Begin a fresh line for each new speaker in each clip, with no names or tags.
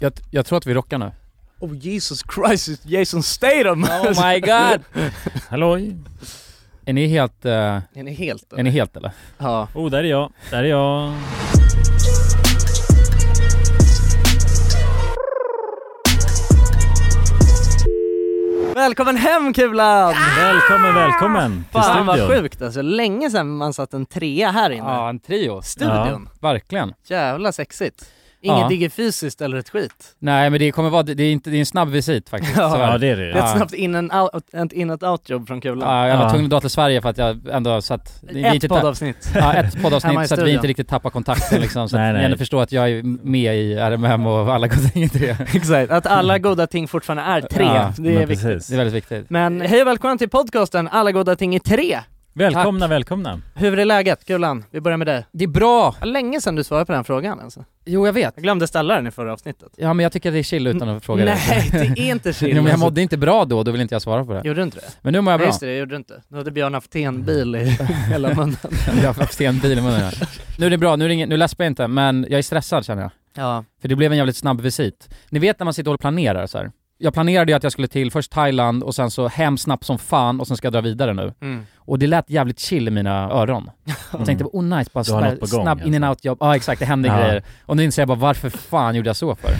jag, jag tror att vi rockar nu.
Oh Jesus Christ, it's Jason Statham!
Oh my god!
Halloj!
Är ni helt, eh, är
Den är helt...
ni helt eller?
Ja.
Oh, där är jag. Där är jag.
Välkommen hem Kulan!
Välkommen,
Ah!
välkommen till
Fan vad
studion.
sjukt alltså, länge sedan man satt en trea här inne.
Ja, en trio.
Studion.
Verkligen.
Jävla sexigt. Inget
Ja.
digifysiskt eller ett skit.
Nej men det kommer vara, det det är, inte, det är en snabb visit faktiskt.
Ja.
tyvärr.
Ja, det är det.
Det
ju.
är ett
Ja.
snabbt in and out, ett in and out jobb från Kulan.
Ja, jag var
Ja.
tvungen att dra till Sverige för att jag ändå satt... vi
ett
inte-
poddavsnitt.
Ja, ett
Hemma i
poddavsnitt så att vi
studion.
inte riktigt tappar kontakten liksom. Så
Nej,
att
nej.
Jenny förstår att jag är med i RMM och alla goda ting i det.
Exakt, att alla goda ting fortfarande är tre.
Ja,
det är
Men
viktigt.
Det
precis.
är väldigt viktigt.
Men hej och välkomna till podcasten Alla goda ting i tre.
Välkomna, välkomna.
Hur är läget Kulan? Vi börjar med dig.
Det är bra!
Länge sedan du svarade på den frågan alltså.
Jo jag vet.
Jag glömde ställa den i förra avsnittet.
Ja men jag tycker det är chill utan att fråga
Nej, det
dig.
är inte chill.
Jo men jag
alltså.
mådde inte bra då, då vill inte jag svara på det.
Gjorde du inte det?
Men nu mår jag
Nej
bra.
just det, det gjorde du inte. Då hade Björn haft en bil i hela munnen.
Jag har haft en bil i munnen här. Nu är det bra, nu, är det ingen, nu läspar jag inte, men jag är stressad känner jag.
Ja.
För det blev en jävligt snabb visit. Ni vet när man sitter och planerar så här. Jag planerade ju att jag skulle till först Thailand och sen så hem snabbt som fan och sen ska jag dra vidare nu.
Mm.
Och det lät jävligt chill i mina öron. Jag tänkte bara, oh nice, bara
Du har något
sådär
på gång, alltså."
snabb in and out jobb. Ja exakt, det händer
Ja.
grejer. Och nu inser jag bara varför fan gjorde jag så för?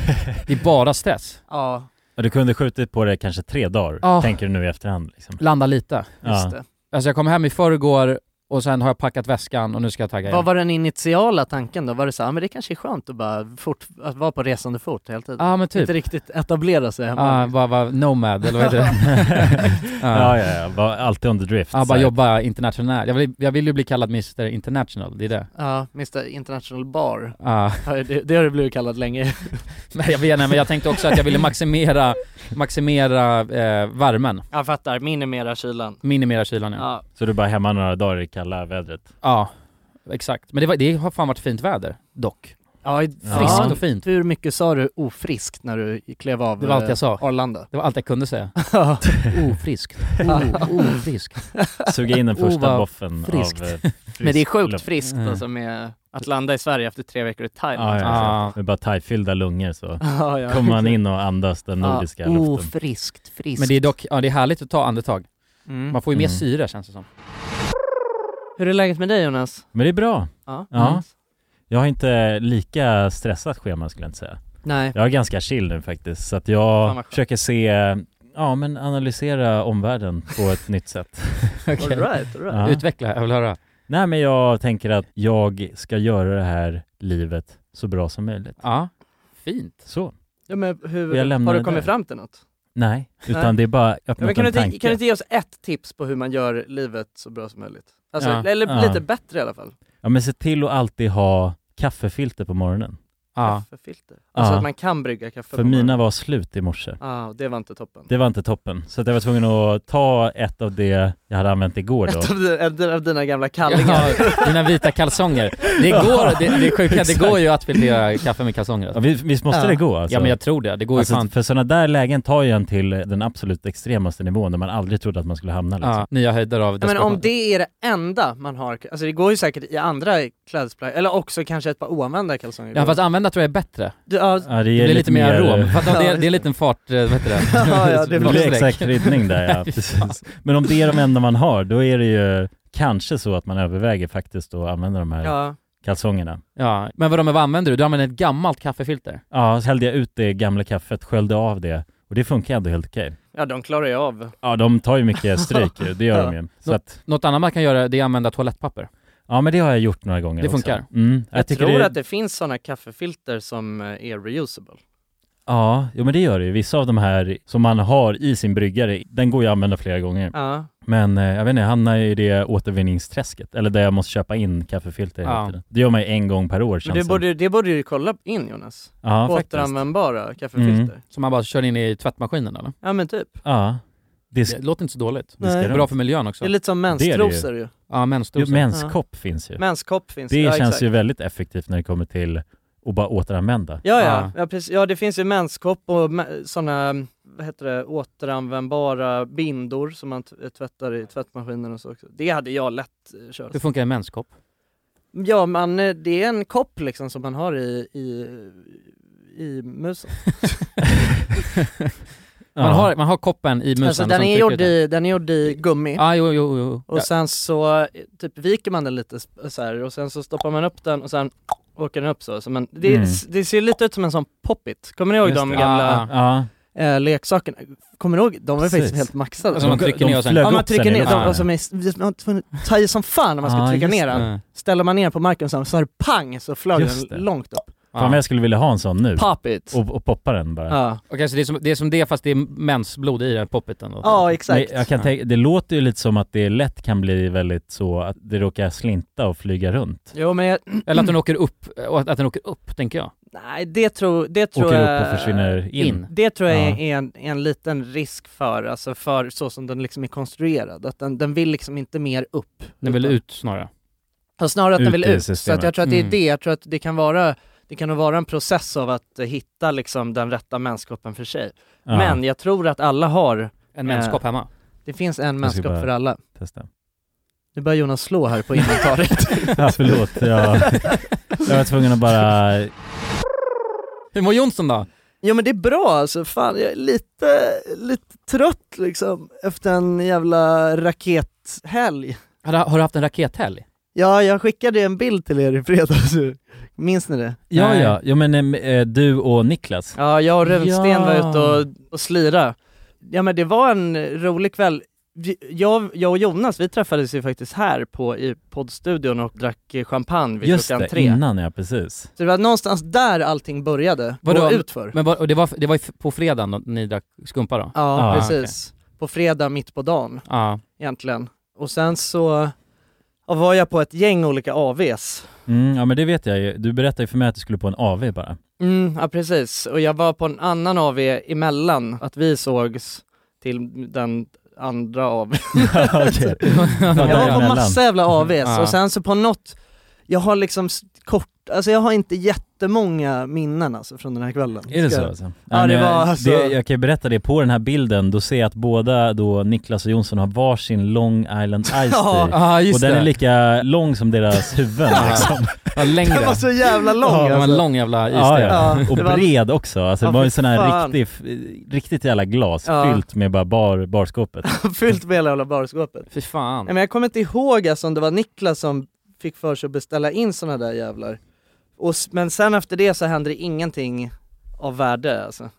Det är bara stress.
Ja,
Och Du kunde skjutit på det kanske tre dagar,
Ja.
tänker du nu i efterhand. Liksom.
Landa lite.
just
Ja.
det.
Alltså jag kom hem i förrgår och sen har jag packat väskan och nu ska jag tagga igen.
Vad var den initiala tanken då? Var det så här, "Ah, men det kanske är skönt att bara fort, att vara på resande fot hela tiden?
Ja men typ.
Inte riktigt etablera sig hemma.
Ja, bara vara nomad eller Ah, vad heter det? Ja.
Ja, ja, ja. Var alltid on the drift.
Ja,
så
bara
här.
jobba internationellt. Jag vill, jag vill ju bli kallad Mr International, det är det.
Ja, Mr International Bar.
Ja.
Ja, Det, det har du blivit kallad länge.
Men jag vet inte, men jag tänkte också att jag ville maximera, maximera eh, värmen.
Jag fattar, minimera kylan.
Minimera kylan ja.
Ja.
Så du är bara hemma några dagar i kalla vädret.
Ja, exakt. Men det, var, det har fan varit fint väder, dock.
Ja,
Friskt
Ja.
och fint.
Hur mycket sa du ofriskt när du klev av
Det var allt jag sa.
eh, Arlanda?
Det var allt jag kunde säga.
Ja.
Ofriskt. Oh, ofriskt.
Suga in den
Oh,
första
vad
boffen
friskt.
av eh,
Men det är sjukt
luft.
friskt
Mm.
alltså med att landa i Sverige efter tre veckor i Thailand.
Ja, ja,
Ja.
exakt. Med bara thajfyllda lungor så
Ja, ja.
kommer man in och andas den nordiska
ja.
luften.
Ofriskt, friskt.
Men det är dock, ja det är härligt att ta andetag.
mm.
Man får ju mer
Mm.
syre känns det som.
Hur är läget med dig Jonas?
Men det är bra.
Ja.
Ja.
Mm.
Jag har inte lika stressat schema skulle jag inte säga.
Nej.
Jag är ganska chill nu faktiskt, så att
Fan, vad
jag
skönt.
försöker se, ja men analysera omvärlden på ett nytt sätt.
Okej.
Alright, alright.
Ja.
Utveckla, jag vill höra.
Nej men jag tänker att jag ska göra det här livet så bra som möjligt.
Ja, fint.
Så.
Ja, men hur,
Jag lämnar
har du
det
kommit
där.
fram till något?
Nej, utan
Nej.
det är bara
Ja,
öppna
men kan, du
en
inte,
tanke.
kan du inte ge oss ett tips på hur man gör livet så bra som möjligt? Alltså,
Ja.
Eller
Ja.
lite bättre i alla fall.
Ja men se till att alltid ha kaffefilter på morgonen.
Ja.
Kaffefilter. Alltså
Ja.
att man kan brygga kaffe
För
på
mina
morgonen.
var slut i morse.
Ja, det var inte toppen.
Det var inte toppen, så att jag var tvungen att ta ett av det jag hade använt igår då.
Ett av, di- ett av dina gamla kallingar.
Ja, dina vita kalsonger. Det går, det, det är sjuka, det går ju att filtrera kaffe med kalsonger.
Ja,
Alltså.
vi- visst måste
Ja.
det gå alltså?
Ja men jag tror det, det går ju
Alltså,
fan.
för sådana där lägen tar ju en till den absolut extremaste nivån där man aldrig trodde att man skulle hamna liksom.
Ja, nya höjder av
Ja, men
desperation.
om det är det enda man har, alltså det går ju säkert i andra klädesplagg, eller också kanske ett par oanvända kalsonger.
Ja fast använda tror jag är bättre.
du, ja, alltså-
Ja, det
Det
ger
blir lite mer
eh,
rom. Fast om
Ja,
det,
just
det är en liten fart, eh, vad heter det?
Ja, ja,
Det
Det
blir
blir
exakt riddning där ja, precis. Men om det är de enda man har, då är det ju kanske så att man överväger faktiskt att använda de här
ja.
kalsongerna.
Ja, men vadå men vad använder du? Du använder ett gammalt kaffefilter?
Ja, så hällde jag ut det gamla kaffet, sköljde av det och det funkar ändå helt okej.
ja, de klarar ju av.
Ja, de tar ju mycket stryk ju, det gör de ju. Så att,
Något annat man kan göra det är att använda toalettpapper.
ja men det har jag gjort några gånger
Det funkar.
Också. Mm,
Jag,
tycker
tror
det,
att det finns sådana kaffefilter som eh, är reusable.
Ja, jo, men det gör det ju. Vissa av de här som man har i sin bryggare, den går ju att använda flera gånger.
Ja.
Men eh, jag vet inte, jag hamnar i det återvinningsträsket. Eller där jag måste köpa in kaffefilter
Ja.
hela tiden. Det gör man ju en gång per år
Men
känns
det
som.
borde, det borde du kolla in Jonas.
Ja, faktiskt.
Återanvändbara kaffefilter.
Mm.
Som man bara kör in i tvättmaskinen eller?
Ja men typ.
Ja. Det
Det låter inte så dåligt.
Det ska
Nej.
de.
Bra för miljön
Det
också.
är lite som
är det ju.
menstrosor ju.
Ja,
Jo,
mensdosa.
menskopp finns ju.
Menskopp finns
Det
ja,
känns
exakt.
ju väldigt effektivt när det kommer till att bara återanvända.
Ja,
Ja.
ja. Ja, precis. ja, det finns ju menskopp och sådana, vad heter det, återanvändbara bindor som man t- tvättar i tvättmaskinen och så också. Det hade jag lätt eh, kört.
Hur funkar en menskopp?
Ja, man, eh, det är en kopp liksom som man har i, i, i musen.
Man,
Ja.
har, man har koppen i musen.
Alltså den
som
är,
trycker
gjord
ut den.
i, den är gjord i gummi.
Ja, jo, jo, jo.
Och
Ja.
sen så eh, typ viker man den lite sp- så här och sen så stoppar man upp den och sen åker den upp så. så men det,
Mm.
det ser lite ut som en sån poppit. Kommer ni ihåg
Just
de
det.
gamla
Ja.
eh, leksakerna? Kommer ni ihåg? De var
Precis.
faktiskt helt maxade.
Alltså, man
De-
trycker
de
ner och sen-
flög
ja, man
upp sen
trycker
i
ner, de,
luften.
alltså, man är- man har tvungen att ta i som fan när man ska
Ah,
trycka
just
ner den.
Mm.
Ställer man ner den på marken så, så här pang så flög
Just
den
det.
långt upp.
Fan vad
Ja.
jag skulle vilja ha en sån nu.
Pop it!
Och, och poppa den bara.
Ja,
Okej, så det är, som, det är som det fast det är mensblod i den poppiten då?
ja
Men
exakt.
jag kan tänka, det låter ju lite som att det lätt kan bli väldigt så att det råkar slinta och flyga runt.
Jo men jag,
Eller att den åker upp, och att, att den åker upp tänker jag.
nej det tror, det tror
Åker
jag...
upp och försvinner in.
In.
Det tror jag
Ja.
är en, en liten risk för, alltså för så som den liksom är konstruerad. Att den, den vill liksom inte mer upp.
Den vill
Utan-
ut snarare.
Ja, snarare att
Ut
den vill
i
ut. Så
systemet.
att jag tror att det är
Mm.
det. Jag tror att det kan vara, det kan nog vara en process av att eh, hitta liksom den rätta mänskroppen för sig.
Ja,
Men jag tror att alla har,
En
Eh.
menskopp hemma.
det finns en
Jag ska
mänskropp
bara-
för alla.
Testa.
Nu börjar Jonas slå här på inventariet.
Ja, förlåt. Jag, jag var tvungen att bara...
Hur mår Jonsson då?
Jo men det är bra alltså, fan jag är lite, lite trött liksom efter en jävla rakethelg.
Har, du- har du haft en rakethelg?
Ja, jag skickade en bild till er i fredags. Minns ni det?
Ja,
Nej.
ja. ja men em, eh, du och Niklas.
Ja, jag och Runsten
Ja.
var ute och, och slira. Ja men det var en rolig kväll. Vi, jag, jag och Jonas, vi träffades ju faktiskt här på, i poddstudion och drack eh, champagne vid
Just
klockan
det, mm.
tre.
innan ja, precis.
Så det var någonstans där allting började,
Vadå?
och utför.
Men var, och det, var, det var ju f- på fredagen då ni drack skumpa då?
Ja,
Ah,
precis. På fredag mitt på dagen
Ja.
egentligen. Och sen så ja, var jag på ett gäng olika AVs.
Mm, ja men det vet jag ju. Du berättade ju för mig att du skulle på en AV bara.
Mm, ja precis. Och jag var på en annan AV emellan, att vi sågs till den andra AV.
Okej.
Jag var på
Däremellan.
massa jävla AVs
Mm-hmm. Ja.
och sen så på något, jag har liksom s- kort, alltså jag har inte jättemånga minnen alltså från den här kvällen.
Är det
Ska-
så alltså?
Ja, det
men jag-
var alltså-
det, jag kan ju berätta det, på den här bilden då ser jag att båda då Niklas och Jonsson har varsin Long Island Ice Tea.
Ja,
Ja just
och den
det.
är lika lång som deras huvuden
Ja.
liksom.
ja, längre.
Den var så jävla lång
Ja, den var
alltså.
lång jävla is
Ja,
det.
ja.
Ja,
Och
det var-
bred också, alltså,
Ja,
det var
fy
en sån här
fan.
riktig, riktigt jävla glas
Ja.
fyllt med bara bar, barskåpet.
Fyllt med hela jävla barskåpet.
Fy fan.
Nej men jag kommer inte ihåg alltså om det var Niklas som fick för sig att beställa in såna där jävlar. Och, s- men sen efter det så hände det ingenting av värde alltså.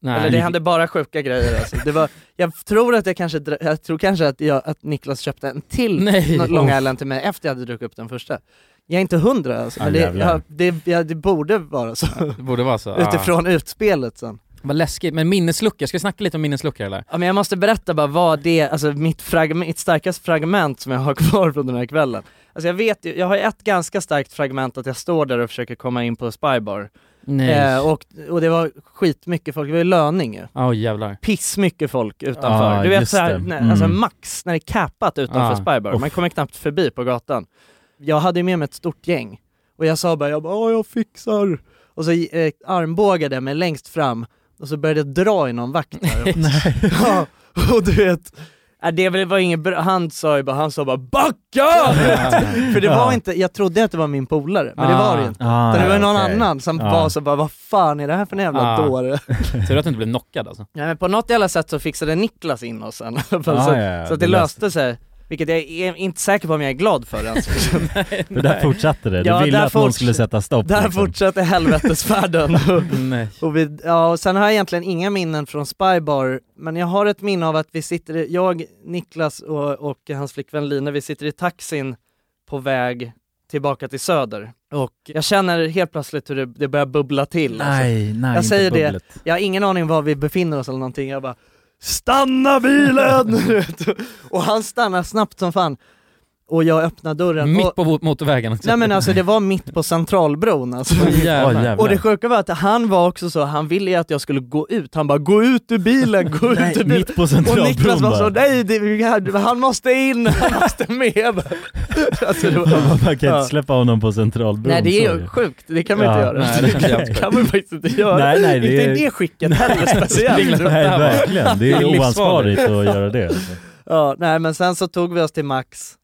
Nej.
Eller det hände bara sjuka grejer alltså. det var, Jag tror att jag kanske, dra- jag tror kanske att, jag, att Niklas köpte en till
Nej.
nå- Long Island till mig efter jag hade druckit upp den första. Jag är inte hundra alltså, men
Ah,
det,
jävlar.
jag, det, jag, det borde vara så.
Det borde vara så. Ja.
Utifrån utspelet sen.
Vad läskigt. Men minnesluckor, ska vi snacka lite om minnesluckor eller?
Ja, men jag måste berätta bara vad det, alltså mitt, frag, mitt starkaste fragment som jag har kvar från den här kvällen. Alltså jag vet ju, jag har ett ganska starkt fragment att jag står där och försöker komma in på Spybar.
Nej.
Eh, och, och det var skitmycket folk, det var ju löning ju.
Åh jävlar.
pissmycket folk utanför.
Ja,
du vet
just
såhär,
det.
när-
Mm. Ah,
alltså max när det är capat utanför
Ja.
Spybar. Man kommer knappt förbi på gatan. Jag hade ju med mig ett stort gäng och jag sa bara jag, bara, "Ja, jag fixar. Och så eh, armbågade jag mig längst fram och så började jag dra i någon vakt där. ja, och du vet, äh, det var- det var inget bra. Han sa ju bara, han sa bara BACKA! För det var
Ja.
inte, jag trodde att det var min polare, men det var det ju inte.
Ah,
Utan det var någon
okej. Ah.
annan som
Ja.
var så bara, vad fan är det här för en jävla
Ja.
dåre?
Tur att du inte blev knockad alltså.
Nej men på något jävla sätt så fixade Niklas in oss sen. så,
Ah, Ja, ja, ja.
så att det löste sig. Vilket jag är inte säker på om jag är glad för ens.
För där fortsatte det, du
Ja,
ville
där
att någon
forts-
skulle sätta stopp.
Där
liksom.
fortsatte helvetesfärden. Och-
Nej.
och, vi, ja, och sen har jag egentligen inga minnen från Spybar, men jag har ett minne av att vi sitter, i- jag, Niklas och, och hans flickvän Lina, vi sitter i taxin på väg tillbaka till Söder. Och jag känner helt plötsligt hur det, det börjar bubbla till. alltså.
Nej, nej,
Jag
inte
säger det.
bubblet.
Jag har ingen aning var vi befinner oss eller någonting, jag bara Stanna bilen! Du vet. och han stannar snabbt som fan och jag öppnar dörren
Mitt
och,
på mot- motorvägen också.
Nej men alltså det var mitt på centralbron alltså.
Åh, jävlar.
Åh, jävlar.
Och det sjuka var att han var också så, han ville ju att jag skulle gå ut, han bara gå ut ur bilen, gå ut ur
Nej,
bilen!
mitt på
Och
centralbron
Niklas var så,
bara.
nej det, han måste in, han måste med! alltså, det var,
Man kan inte
Ja.
släppa honom på centralbron.
nej det
så
är ju sjukt, det kan man
Ja,
inte göra.
nej, det känns jävligt
det kan man faktiskt inte göra.
Nej, nej, det
inte
är-
i det skicket heller
ringlar
speciellt.
det
Nej
här var-
verkligen, det
det är
är
livsfarligt.
oansvarigt att göra det. alltså.
Ja, nej men sen så tog vi oss till Max,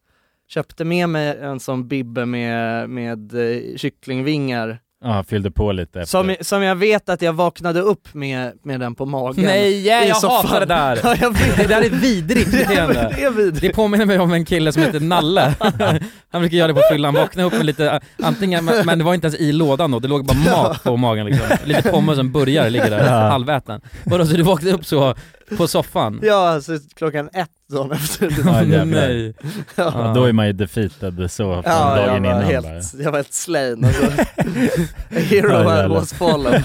köpte med mig en sån bibbe med, med eh, kycklingvingar
Ja, fyllde på lite efter.
Som, som jag vet att jag vaknade upp med, med den på magen.
Nej, yeah,
I
jag
soffan.
hatar det där!
Ja, jag vet.
Det där är ett vidrigt beteende.
det är vidrigt.
Det påminner mig om en kille som heter Nalle. Han brukar göra det på fyllan, vakna upp med lite, antingen, men men det var inte ens i lådan då, det låg bara mat på magen liksom. Lite pommes och en burgare ligger där,
Ja.
halväten. Vadå, så du vaknade upp så, på soffan?
Ja, alltså klockan ett dagen efter.
Ja,
Åh,
jävlar.
nej.
Ja, då är man ju defeated så från
Ja, jag
dagen
var,
innan bara.
helt, jag var helt slain. Alltså. A hero
Ja, jävlar.
was fallen.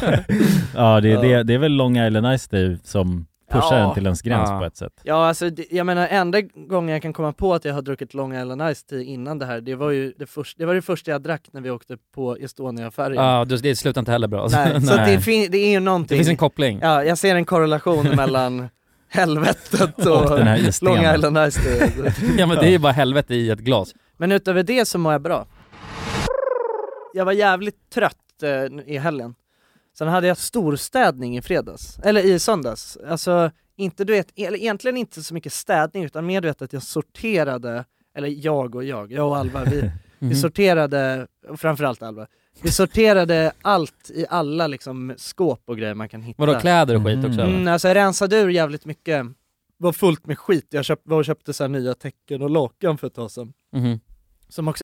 Ja, det är,
Ja.
Det, det är väl Long Island Ice Day som pushar
Ja.
en till ens gräns
Ja.
på ett sätt.
Ja, alltså det, jag menar enda gången jag kan komma på att jag har druckit Long Island Ice Tea innan det här, det var ju det, först, det, var det första jag drack när vi åkte på Estonia-färjan.
Ja, du- det slutar inte heller bra. Alltså.
Nej, Så att
Nej.
det, fin- det är ju
det
någonting.
finns en koppling.
ja, jag ser en korrelation mellan helvetet och,
Och den här isstenen.
Long Island Ice Tea.
Ja men det är ju bara helvete i ett glas.
Men utöver det så mår jag bra. Jag var jävligt trött eh, i helgen. Sen hade jag storstädning i fredags, eller i söndags. Alltså, inte, du vet, eller egentligen inte så mycket städning utan mer du vet att jag sorterade, eller jag och jag, jag och Alva, vi, vi sorterade, och framförallt Alva, vi sorterade allt i alla liksom skåp och grejer man kan hitta.
Vadå kläder och skit också?
Mm, alltså jag rensade ur jävligt mycket, var fullt med skit. Jag köpt, var och köpte så här nya täcken och lakan för ett tag sedan.
Mhm.
Som också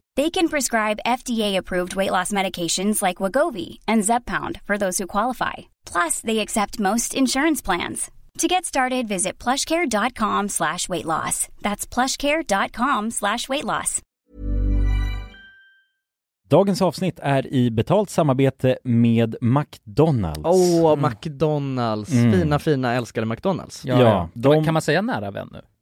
They can prescribe FDA-approved weight loss medications like Wagovi and Zepbound for those who qualify. Plus, they accept most insurance plans. To get started, visit plushcare.com slash weight loss. That's plushcare.com slash weight loss.
Dagens avsnitt är i betalt samarbete med McDonalds.
Åh, McDonalds.
Mm.
Fina, fina, älskade McDonalds.
Ja,
Ja,
ja. Kan, man,
de-
kan man säga nära vän nu?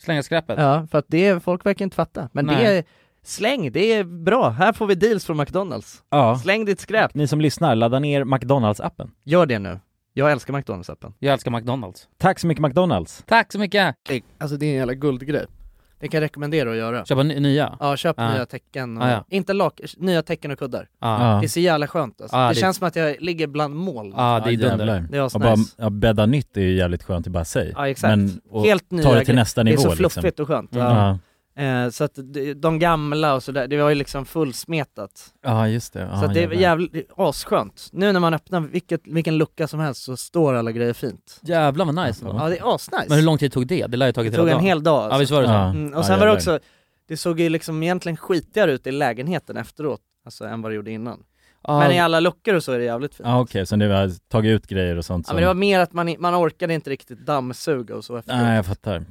Slänga skräpet.
Ja, för att det, folk verkar inte fatta. Men det
Nej.
är, släng, det är bra. Här får vi deals från McDonalds.
Ja.
Släng ditt skräp.
Ni som lyssnar, ladda ner McDonalds-appen.
Gör det nu. Jag älskar McDonalds-appen.
Jag älskar McDonalds.
Tack så mycket McDonalds.
Tack så mycket!
Alltså det är en jävla guldgrej. Det kan jag rekommendera att göra.
Köpa ny- nya?
Ja, köp
Ah.
nya tecken. Och,
Ah, ja.
Inte lak, nya tecken och kuddar.
Ja.
Det är så jävla skönt alltså.
Ah,
Det
det-
känns som att jag ligger bland moln.
Ja, det är dunder.
Det är
och bara,
asnice.
ja, bädda nytt är ju jävligt skönt i bara sig.
Ja, exakt.
och
Helt nya
ta det till
grejer.
nästa
Det är
nivå
så
liksom.
fluffigt och skönt.
Mm.
Ja.
Ja.
Eh, så att de- de gamla och sådär, det var ju liksom fullsmetat.
ja, just det. Ja,
så att det är
jävlar.
jävligt asskönt. Nu när man öppnar vilket, vilken lucka som helst så står alla grejer fint.
Jävlar vad nice det var.
Ja det är asnice.
Men hur lång tid tog det? Det lär ju tagit
det
hela
tog
dagen.
en hel dag
Ja visst var det så?
Ja.
Mm,
Ja,
och sen var det
jävlar.
också, det såg ju liksom egentligen skitigare ut i lägenheten efteråt, alltså än vad det gjorde innan.
Ja.
Men i alla luckor och så är det jävligt fint.
Ja okej, så ni har tagit ut grejer och sånt
Ja,
som...
men det var mer att man, i- man orkade inte riktigt dammsuga och så efteråt.
Nej jag fattar.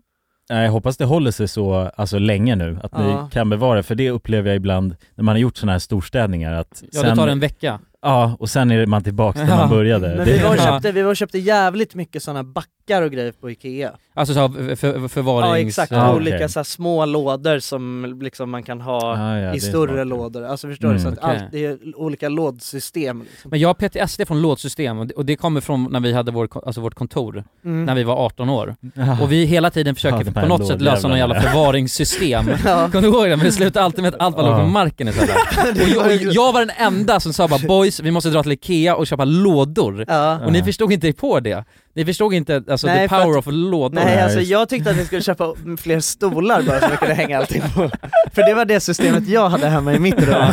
Nej, jag hoppas det håller sig så alltså, länge nu, att
Ja.
ni kan bevara för det upplever jag ibland när man har gjort sådana här storstädningar att
Ja det tar en vecka.
ja, och sen är man tillbaka där
Ja.
man började.
Men
Det-
vi var och
Ja.
köpte, vi var och köpte jävligt mycket sådana backar och grejer på Ikea.
Alltså så här, för,
Ja
förvarings...
exakt,
Ja,
olika
okej.
så här, små lådor som liksom man kan ha
Ja, ja, det
i
är
större
smart.
lådor. Alltså förstår du?
Mm.
Så att
Okej.
allt, det är olika lådsystem. Liksom.
Men jag har PTSD från låtsystem och det- och det kommer från när vi hade vår, ko- alltså vårt kontor,
Mm.
Mm.
när vi var 18 år.
Ja.
Och vi hela tiden
Ah. Ja,
försöker
de
på
här
något sätt lösa någon
lådjävlarna.
jävla förvaringssystem.
Ja.
Kommer du ihåg det? Men det slutade alltid med att allt bara låg på
Ja.
marken istället. Och jag, och jag var den enda som sa bara boys, vi måste dra till Ikea och köpa lådor.
Ja.
Och ni förstod inte er på det. Ni förstod inte alltså
Nej,
the
för
power
att-
of lådor.
Nej
Nej,
alltså
just-
jag tyckte att vi skulle köpa fler stolar bara så vi kunde hänga allting på. För det var det systemet jag hade hemma i mitt rum.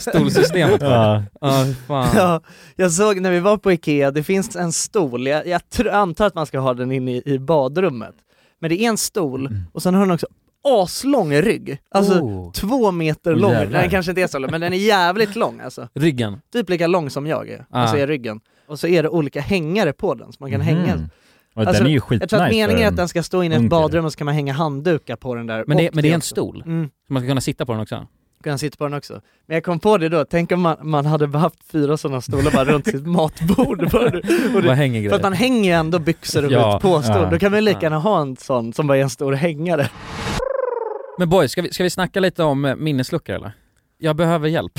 Stolsystemet. Ja,
Ja.
fan.
Ja, jag såg när vi var på Ikea, det finns en stol, jag, jag tr- antar att man ska ha den inne i, i badrummet. Men det är en stol
Mm.
och sen har den också aslång rygg. Alltså
Oh.
två meter lång.
jävlar.
Den kanske inte är så lång, men den är jävligt lång alltså.
Ryggen.
Typ lika lång som jag är, alltså
Ah. Mhm.
är ryggen. Och så är det olika hängare på den, så man kan hänga.
Mm. Och
Alltså,
den är ju
Jag tror
skitnice
att meningen
för
är att
en-
den ska stå inne i ett
ung kille.
badrum och så kan man hänga handdukar på den där.
Men det,
och
men det är en
också.
stol,
Mm.
så man ska kunna sitta på den också.
kunna sitta på den också. Men jag kom på det då, tänk om man, man hade bara haft fyra sådana stolar bara runt sitt matbord. Bara, och
Bara
det,
hänger
för att
grejer.
man hänger ju ändå byxor och
Ja,
ja, på stor.
ja.
Då kan man ju lika gärna ha en sån som bara är en stor hängare.
Men boys, ska vi, ska vi snacka lite om eh, minnesluckor eller? Jag behöver hjälp.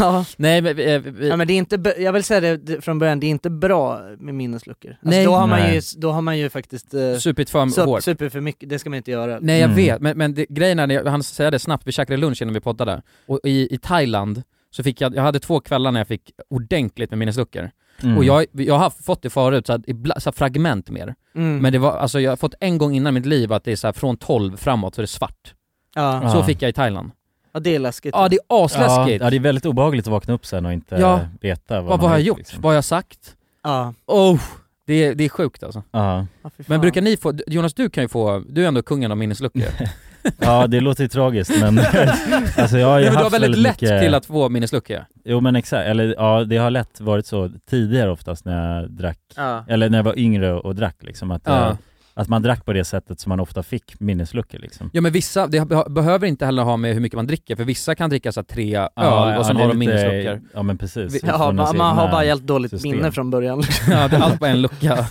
Ja.
Nej men, vi- eh, vi,
men det är inte, b- jag vill säga det d- från början, det är inte bra med minnesluckor. Alltså,
Nej.
då, har man
Nej.
ju, då har man ju faktiskt eh,
supit för
sup-
hårt.
super för mycket, det ska man inte göra.
Nej jag
Mm.
vet, men, men det, grejen är, när jag- han säger det snabbt, vi käkade lunch innan vi poddade, och i, i Thailand så fick jag, jag hade två kvällar när jag fick ordentligt med minnesluckor.
Mm.
Och jag, jag har fått det förut, så här, ibla- så här fragment mer.
Mm.
Men det var, alltså jag har fått en gång innan i mitt liv att det är så här från 12 framåt så är det svart.
ja.
Ja.
Så fick jag i Thailand.
ja, det är läskigt.
Ja det är asläskigt.
Ja, ja, det är väldigt obehagligt att vakna upp sen och inte
Ja.
veta vad,
Vad,
man
vad har jag gjort?
liksom.
Vad har jag sagt?
Ja.
Oh, det, är- det är sjukt alltså.
Ja.
Ja, fy
Men
fan.
brukar ni få, Jonas du kan ju få, du är ändå kungen av minnesluckor.
ja, det låter ju tragiskt men alltså jag har ju
Nej, men du har
haft
väldigt lätt
mycket...
till att få minnesluckor.
Jo men exakt, eller ja det har lätt varit så tidigare oftast när jag drack,
Ja.
eller när jag var yngre och, och drack liksom att,
Ja.
eh, att man drack på det sättet som man ofta fick minnesluckor liksom.
Ja men vissa, det beh- behöver inte heller ha med hur mycket man dricker, för vissa kan dricka så här, tre öl och sen
det
har
är lite-
de minnesluckor.
Ja men precis.
Ja,
Utifrån
man,
ens
man har
egna-
bara helt dåligt
system.
minne från början.
Ja, det är allt på en lucka.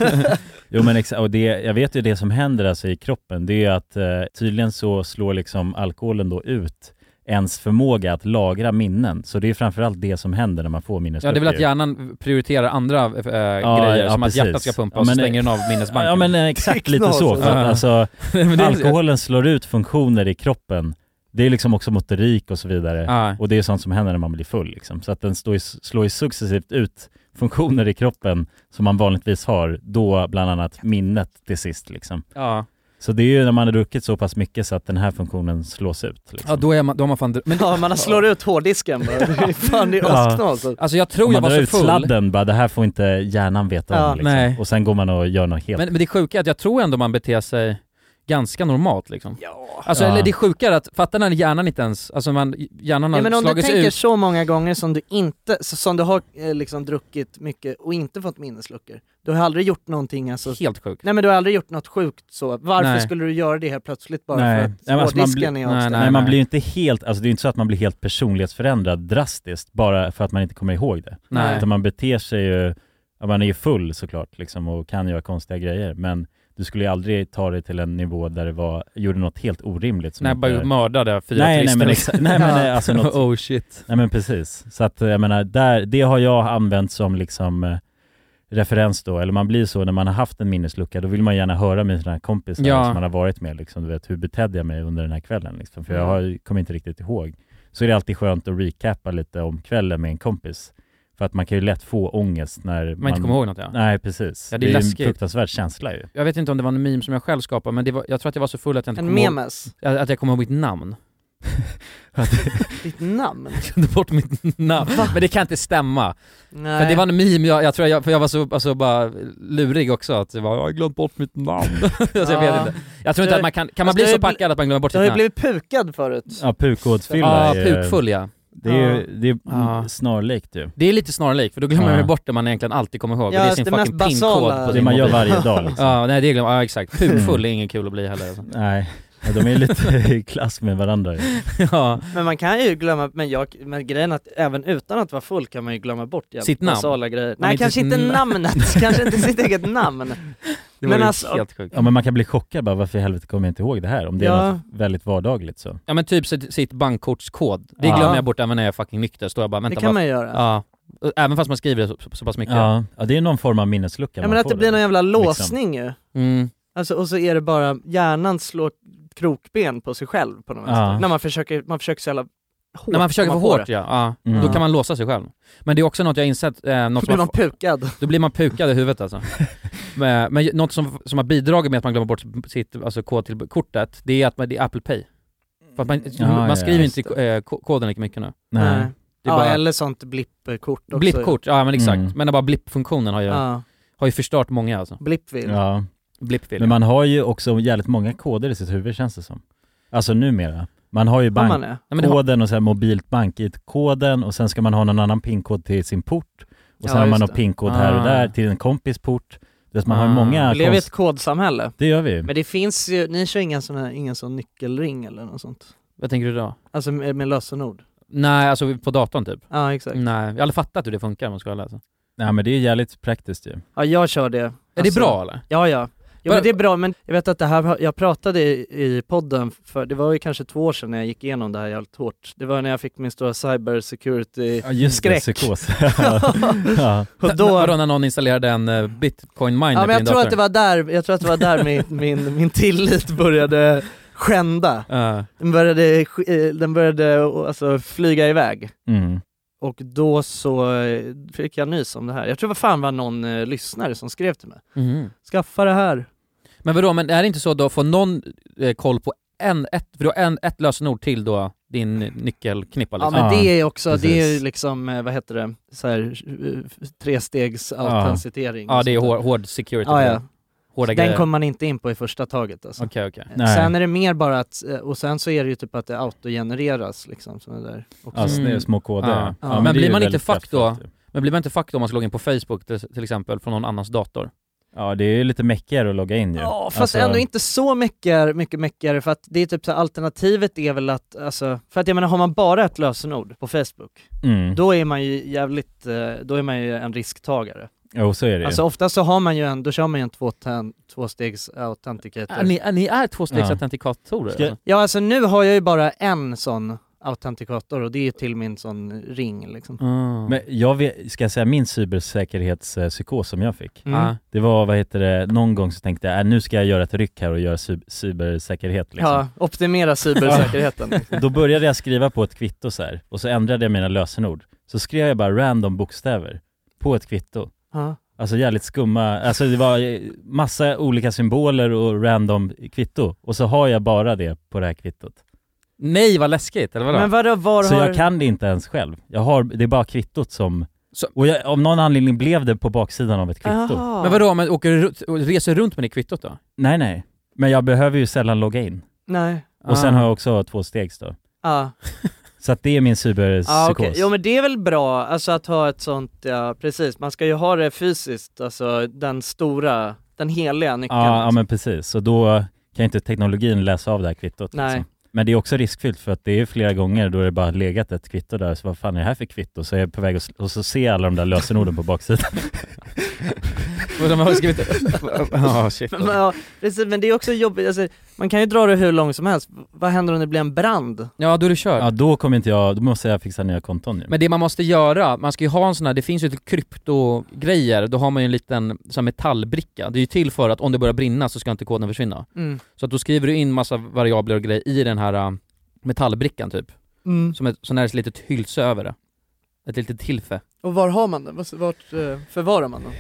Jo men exakt, och det, jag vet ju det som händer alltså i kroppen, det är ju att eh, tydligen så slår liksom alkoholen då ut ens förmåga att lagra minnen. Så det är ju framförallt det som händer när man får
Ja
minnesluckor.
det är väl att hjärnan prioriterar andra eh, grejer,
ja,
som
precis.
att hjärtat ska pumpa
Ja,
och så
men-
stänger den av minnesbanken.
Ja men eh, exakt lite så, för att, alltså,
Men det är-
alkoholen slår ut funktioner i kroppen. Det är liksom också motorik och så vidare.
Ja.
Och det är sånt som händer när man blir full liksom. Så att den står i, slår ju successivt ut funktioner i kroppen som man vanligtvis har, då bland annat minnet till sist liksom.
Ja.
Så det är ju när man har druckit så pass mycket så att den här funktionen slås ut.
ja,
Liksom.
då är man, då har man fan... dr- Men
Ja, man har slår ut hårddisken bara. Fan det är
Ja.
asknall. alltså.
alltså jag
Om
tror
man
jag var
drar
så
ut
full,
sladden, bara, det här får inte hjärnan veta
Ja,
om liksom.
nej.
Och sen går man och gör något helt...
men, men det sjuka är att jag tror ändå man beter sig ganska normalt liksom. Alltså
Ja.
eller det är sjukare att, fatta när hjärnan inte ens, alltså man, hjärnan har
Ja, men om du
slagits
tänker
ut.
så många gånger som du inte, så- som du har eh, liksom druckit mycket och inte fått minnesluckor. Du har aldrig gjort någonting alltså.
Helt sjukt.
Nej men du har aldrig gjort något sjukt så. Varför
Nej.
skulle du göra det helt plötsligt bara
Nej.
för
Nej, men
att
alltså man
hårddisken
blir-
är avstängd?
nej,
Nej,
nej.
man blir ju inte helt, alltså det är ju inte så att man blir helt personlighetsförändrad drastiskt bara för att man inte kommer ihåg det.
Nej.
Utan man beter sig ju, ja, man är ju full såklart liksom och kan göra konstiga grejer men du skulle ju aldrig ta dig till en nivå där det var, gjorde något helt orimligt. som
När jag
inte
bara
är-
mördade fyra
nej, nej
turister.
men exa- nej men eh, alltså något,
oh shit.
nej men precis. Så att eh, jag menar, där, det har jag använt som liksom eh, referens då, eller man blir så när man har haft en minneslucka, då vill man gärna höra med sina kompisar
Ja.
som man har varit med, liksom, du vet, hur betedde jag mig under den här kvällen? Liksom, för jag
Mm.
har, kommer inte riktigt ihåg. Så är det alltid skönt att recappa lite om kvällen med en kompis. För att man kan ju lätt få ångest när man...
Man inte kommer ihåg något ja.
Nej, precis.
Ja, det
det
är
är,
läskigt.
en fruktansvärd känsla ju.
Jag vet inte om det var en meme som jag själv skapade, men det var, jag tror att jag var så full att jag inte
En
kom ihåg,
memes,
att att jag kom ihåg mitt namn.
ditt namn?
Jag glömde bort mitt namn. Men det kan inte stämma.
Nej.
För det var en meme, jag, jag tror jag, för jag var så alltså, bara lurig också, att jag, bara, jag har glömt bort mitt namn. alltså, jag vet
Ja.
inte. Jag tror
Det-
inte att man kan, kan man
Fast
bli
det har
så
ju bli-
packad att man glömmer bort
Du
sitt
har ju
namn?
blivit pukad förut.
Ja, pukådsfylla
Ja,
är ju-
pukfull ja.
Det är, ju- det är
Ja.
snarlikt ju.
Det är lite snarlikt, för då glömmer
Ja.
man ju bort det man egentligen alltid kommer ihåg.
Ja,
och det är sin
det
fucking
mest
pinkod
basala-
på
Det
din
man gör
mobil.
varje dag liksom.
Ja, nej det glömmer ja exakt. Pukfull är ingen kul att bli heller. alltså.
Nej, ja, de är lite i klass med varandra ju.
ja.
Men man kan ju glömma, men, jag, men grejen är att även utan att vara full kan man ju glömma bort jävligt
Sitt namn.
basala grejer.
Men
Nej
inte
kanske
sitt
inte
namn.
namnet, kanske inte sitt eget namn.
Det
Men
var ju
alltså-
helt sjukt.
Ja men man kan bli chockad bara, varför i helvete kommer jag inte ihåg det här? Om det
Ja.
är något väldigt vardagligt så.
Ja men typ sitt, sitt bankkortskod, det
Ja.
glömmer jag bort även när jag är fucking nykter, står jag bara vänta
det kan
vad-
man ju göra. Ja,
Ja. Även fast man skriver det så, så pass mycket.
Ja. ja, det är någon form av minneslucka man
men att
får
det
då.
blir någon jävla
liksom.
låsning ju.
Mm.
Alltså, och så är det bara, hjärnan slår krokben på sig själv på något
Ja.
sätt. När man försöker, man försöker så jävla hårt.
När man försöker
komma
för
på
hårt
det.
ja, ja.
Mm.
då kan man låsa sig själv. Men det är också något jag insett, eh, något
Då
som
blir
har-
man pukad.
då blir man pukad i huvudet alltså. men, men något som, som har bidragit med att man glömmer bort sitt alltså, kod till kortet, det är att man, det är Apple Pay. För att man,
Ja,
man
ja,
skriver
just
inte eh, ko- koden lika mycket nu.
Nej.
Det är
ja,
bara-
eller sånt blippkort också.
Blippkort, ja men exakt.
Mm.
Men bara blippfunktionen har ju,
Ja,
har ju förstört många alltså.
blippvill.
Ja,
Blippfil.
men man har ju också jävligt många koder i sitt huvud känns det som. Alltså numera. Man har ju
Vad man
bankkoden
är.
Nej, men det har-
och sen mobilt bank-id-koden och sen ska man ha någon annan pinkod till sin port. Och sen
Ja,
har man
just
någon
det.
pinkod här
Ah.
och där till en kompis port. Du vet, man har
Ah.
ju många
Vi lever i
konst...
ett kodsamhälle.
Mm.
Det gör vi ju.
Men det finns ju, ni kör ingen sån här, ingen sån nyckelring eller något sånt?
Vad tänker du då?
Alltså med, med lösenord?
Nej, alltså på datorn typ.
Ja exakt.
Nej, jag har aldrig fattat hur det funkar om man ska vara ärlig, alltså.
Nej men det är jävligt praktiskt ju.
Ja jag kör det.
Är det
Alltså,
bra eller?
Ja ja. Jo
Vad-
men det är bra, men jag vet att det här, har- jag pratade i, i podden för, det var ju kanske två år sedan när jag gick igenom det här jävligt hårt. Det var när jag fick min stora cyber security
Ja just
Skräck.
det, psykos. ja.
och
Då...
då
Vadå när någon installerade en eh, bitcoin miner
Ja men
på din
jag tror
dator?
att det var där, jag tror att det var där min, min, min tillit började skända.
Eh,
Den började, sk- eh, den började eh, alltså, flyga iväg.
Mm.
Och då så eh, fick jag nys om det här. Jag tror vad fan var någon eh, lyssnare som skrev till mig.
mhm.
Skaffa det här.
Men vadå, men är det inte så då, får någon eh, koll på en, ett, för du har en, ett lösenord till då, din
Ja
nyckelknippa liksom?
men
Ja,
det är också, det är ju
precis.
liksom, eh, vad heter det, så här, eh, trestegs autentisering.
Ja,
och
det är
sånt där.
hår, hård security,
Ja, ja.
hårda
Den
grejer.
kommer man inte in på i första taget alltså.
Okej, okej.
Nej.
Sen är det mer bara att, eh, och sen så är det ju typ att det autogenereras liksom. Så där. också.
Ja,
Mm.
mm. små koder.
Ja.
Ja.
Ja.
men
Men
det är
blir
ju
man inte
väldigt
fucked då?
kraftfullt ju.
Men blir man inte fucked om man ska logga in på Facebook till, till exempel från någon annans dator?
Ja, det är ju lite mäckigare att logga in ju.
Ja, fast
Alltså,
ändå inte så mycket, mycket mäckigare för att det är typ så här, alternativet är väl att, alltså, för att jag menar har man bara ett lösenord på Facebook
Mm.
då är man ju jävligt, eh, då är man ju en risktagare.
Jo, så är det ju.
Alltså ofta så har man ju en, då kör man ju en två, tvåstegs authenticator.
Ni, ni är tvåstegsautentikatorer?
Ska-
alltså?
Ja alltså nu har jag ju bara en sån autenticator och det är ju till min sån ring liksom.
Mm.
Men jag vet, ska jag säga min cybersäkerhetspsykos som jag fick?
Mm.
Ah.
Det var, vad heter det, någon gång så tänkte jag, äh, nu ska jag göra ett ryck här och göra cy- cybersäkerhet liksom.
Ja, optimera cybersäkerheten.
Då började jag skriva på ett kvitto så här, och så ändrade jag mina lösenord. Så skrev jag bara random bokstäver på ett kvitto.
ja.
Alltså jävligt skumma, alltså det var eh, massa olika symboler och random kvitto. Och så har jag bara det på det här kvittot.
Nej vad läskigt, eller vadå?
Men vadå, var
Så
har...
jag kan det inte ens själv. Jag har, det är bara kvittot som...
Så-
Och jag, av någon anledning blev det på baksidan av ett kvitto.
Jaha.
Men vadå, men åker du runt- och reser runt med det kvittot då?
Nej, nej. Men jag behöver ju sällan logga in.
Nej.
Och
Ah.
sen har jag också två stegs då.
Ja.
Så att det är min
Ja Ah. ah,
cyberpsykos.
okej, jo men det är väl bra, alltså att ha ett sånt, ja precis, man ska ju ha det fysiskt, alltså den stora, den heliga nyckeln.
ja, ja, men precis. Så då kan inte teknologin läsa av det här kvittot.
Nej.
Liksom. Men det är också riskfyllt för att det är flera gånger då det bara legat ett kvitto där. Så vad fan är det här för kvitto? Så är jag på väg att, sl- och så ser jag alla de där lösenorden på baksidan.
Och de har skrivit... Ja, shit. Ah,
men, ja, precis, men det är också jobbigt, alltså, Man kan ju dra det hur långt som helst. V- Vad händer om det blir en brand?
Ja, då är du körd.
Ja då kommer inte jag, då måste jag fixa nya konton ju.
Men det man måste göra, man ska ju ha en sån här, det finns ju lite kryptogrejer, då har man ju en liten så här metallbricka. Det är ju till för att om det börjar brinna så ska inte koden försvinna.
Mm.
Så att då skriver du in massa variabler och grejer i den här äh, metallbrickan typ.
Mm.
Som ett, sån här litet hylse över det. Ett litet tillfe.
Och var har man den? Vart- Vart eh, förvarar man den?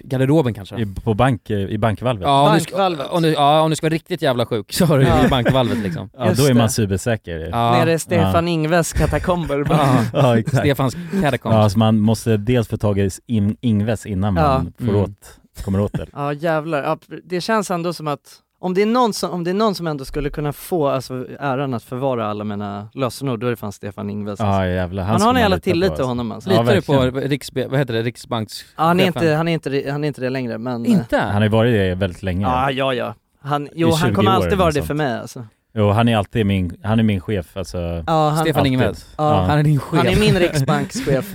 Garderoben kanske?
I, på bank, i bankvalvet. Ja,
Ja, om du, ska,
Bankvalvet.
om, du, ja, om du ska vara riktigt jävla sjuk så har du
Ja.
i bankvalvet liksom.
då
just
är man
det.
cybersäker. Ja,
Ja.
Nere i
Ah.
Stefan Ingves katakomber.
Ja.
ja exakt.
Stefans catacomb.
Ja, alltså, så man måste dels få tag i in, Ingves innan man
Ja.
får
Mm.
åt, kommer åt det.
Ja jävlar, ja, p- det känns ändå som att om det, är någon som, om det är någon som ändå skulle kunna få alltså, äran att förvara alla mina lösenord, då är det fan Stefan Ingves. alltså.
Ja jävlar, Ah, han
Man
ska
har en
man
jävla
lita på,
tillit till
alltså.
honom alltså.
Ja,
Litar du på
verkligen.
Riksbe, vad heter det, Riksbanks...
Ja, han, är
chefen?
inte, han, är inte, det- han är inte det längre men... eh,
Inte?
Han har ju varit det väldigt länge.
Ja, ja, ja. Han, jo,
I
han
20
kommer
år
alltid
eller
vara
något
det
sånt.
för mig alltså.
Jo, han är alltid min, han är min chef alltså.
Ja, han,
Stefan
Alltid.
Ingves.
Ja.
Ja.
Han är din chef.
han är min riksbankschef.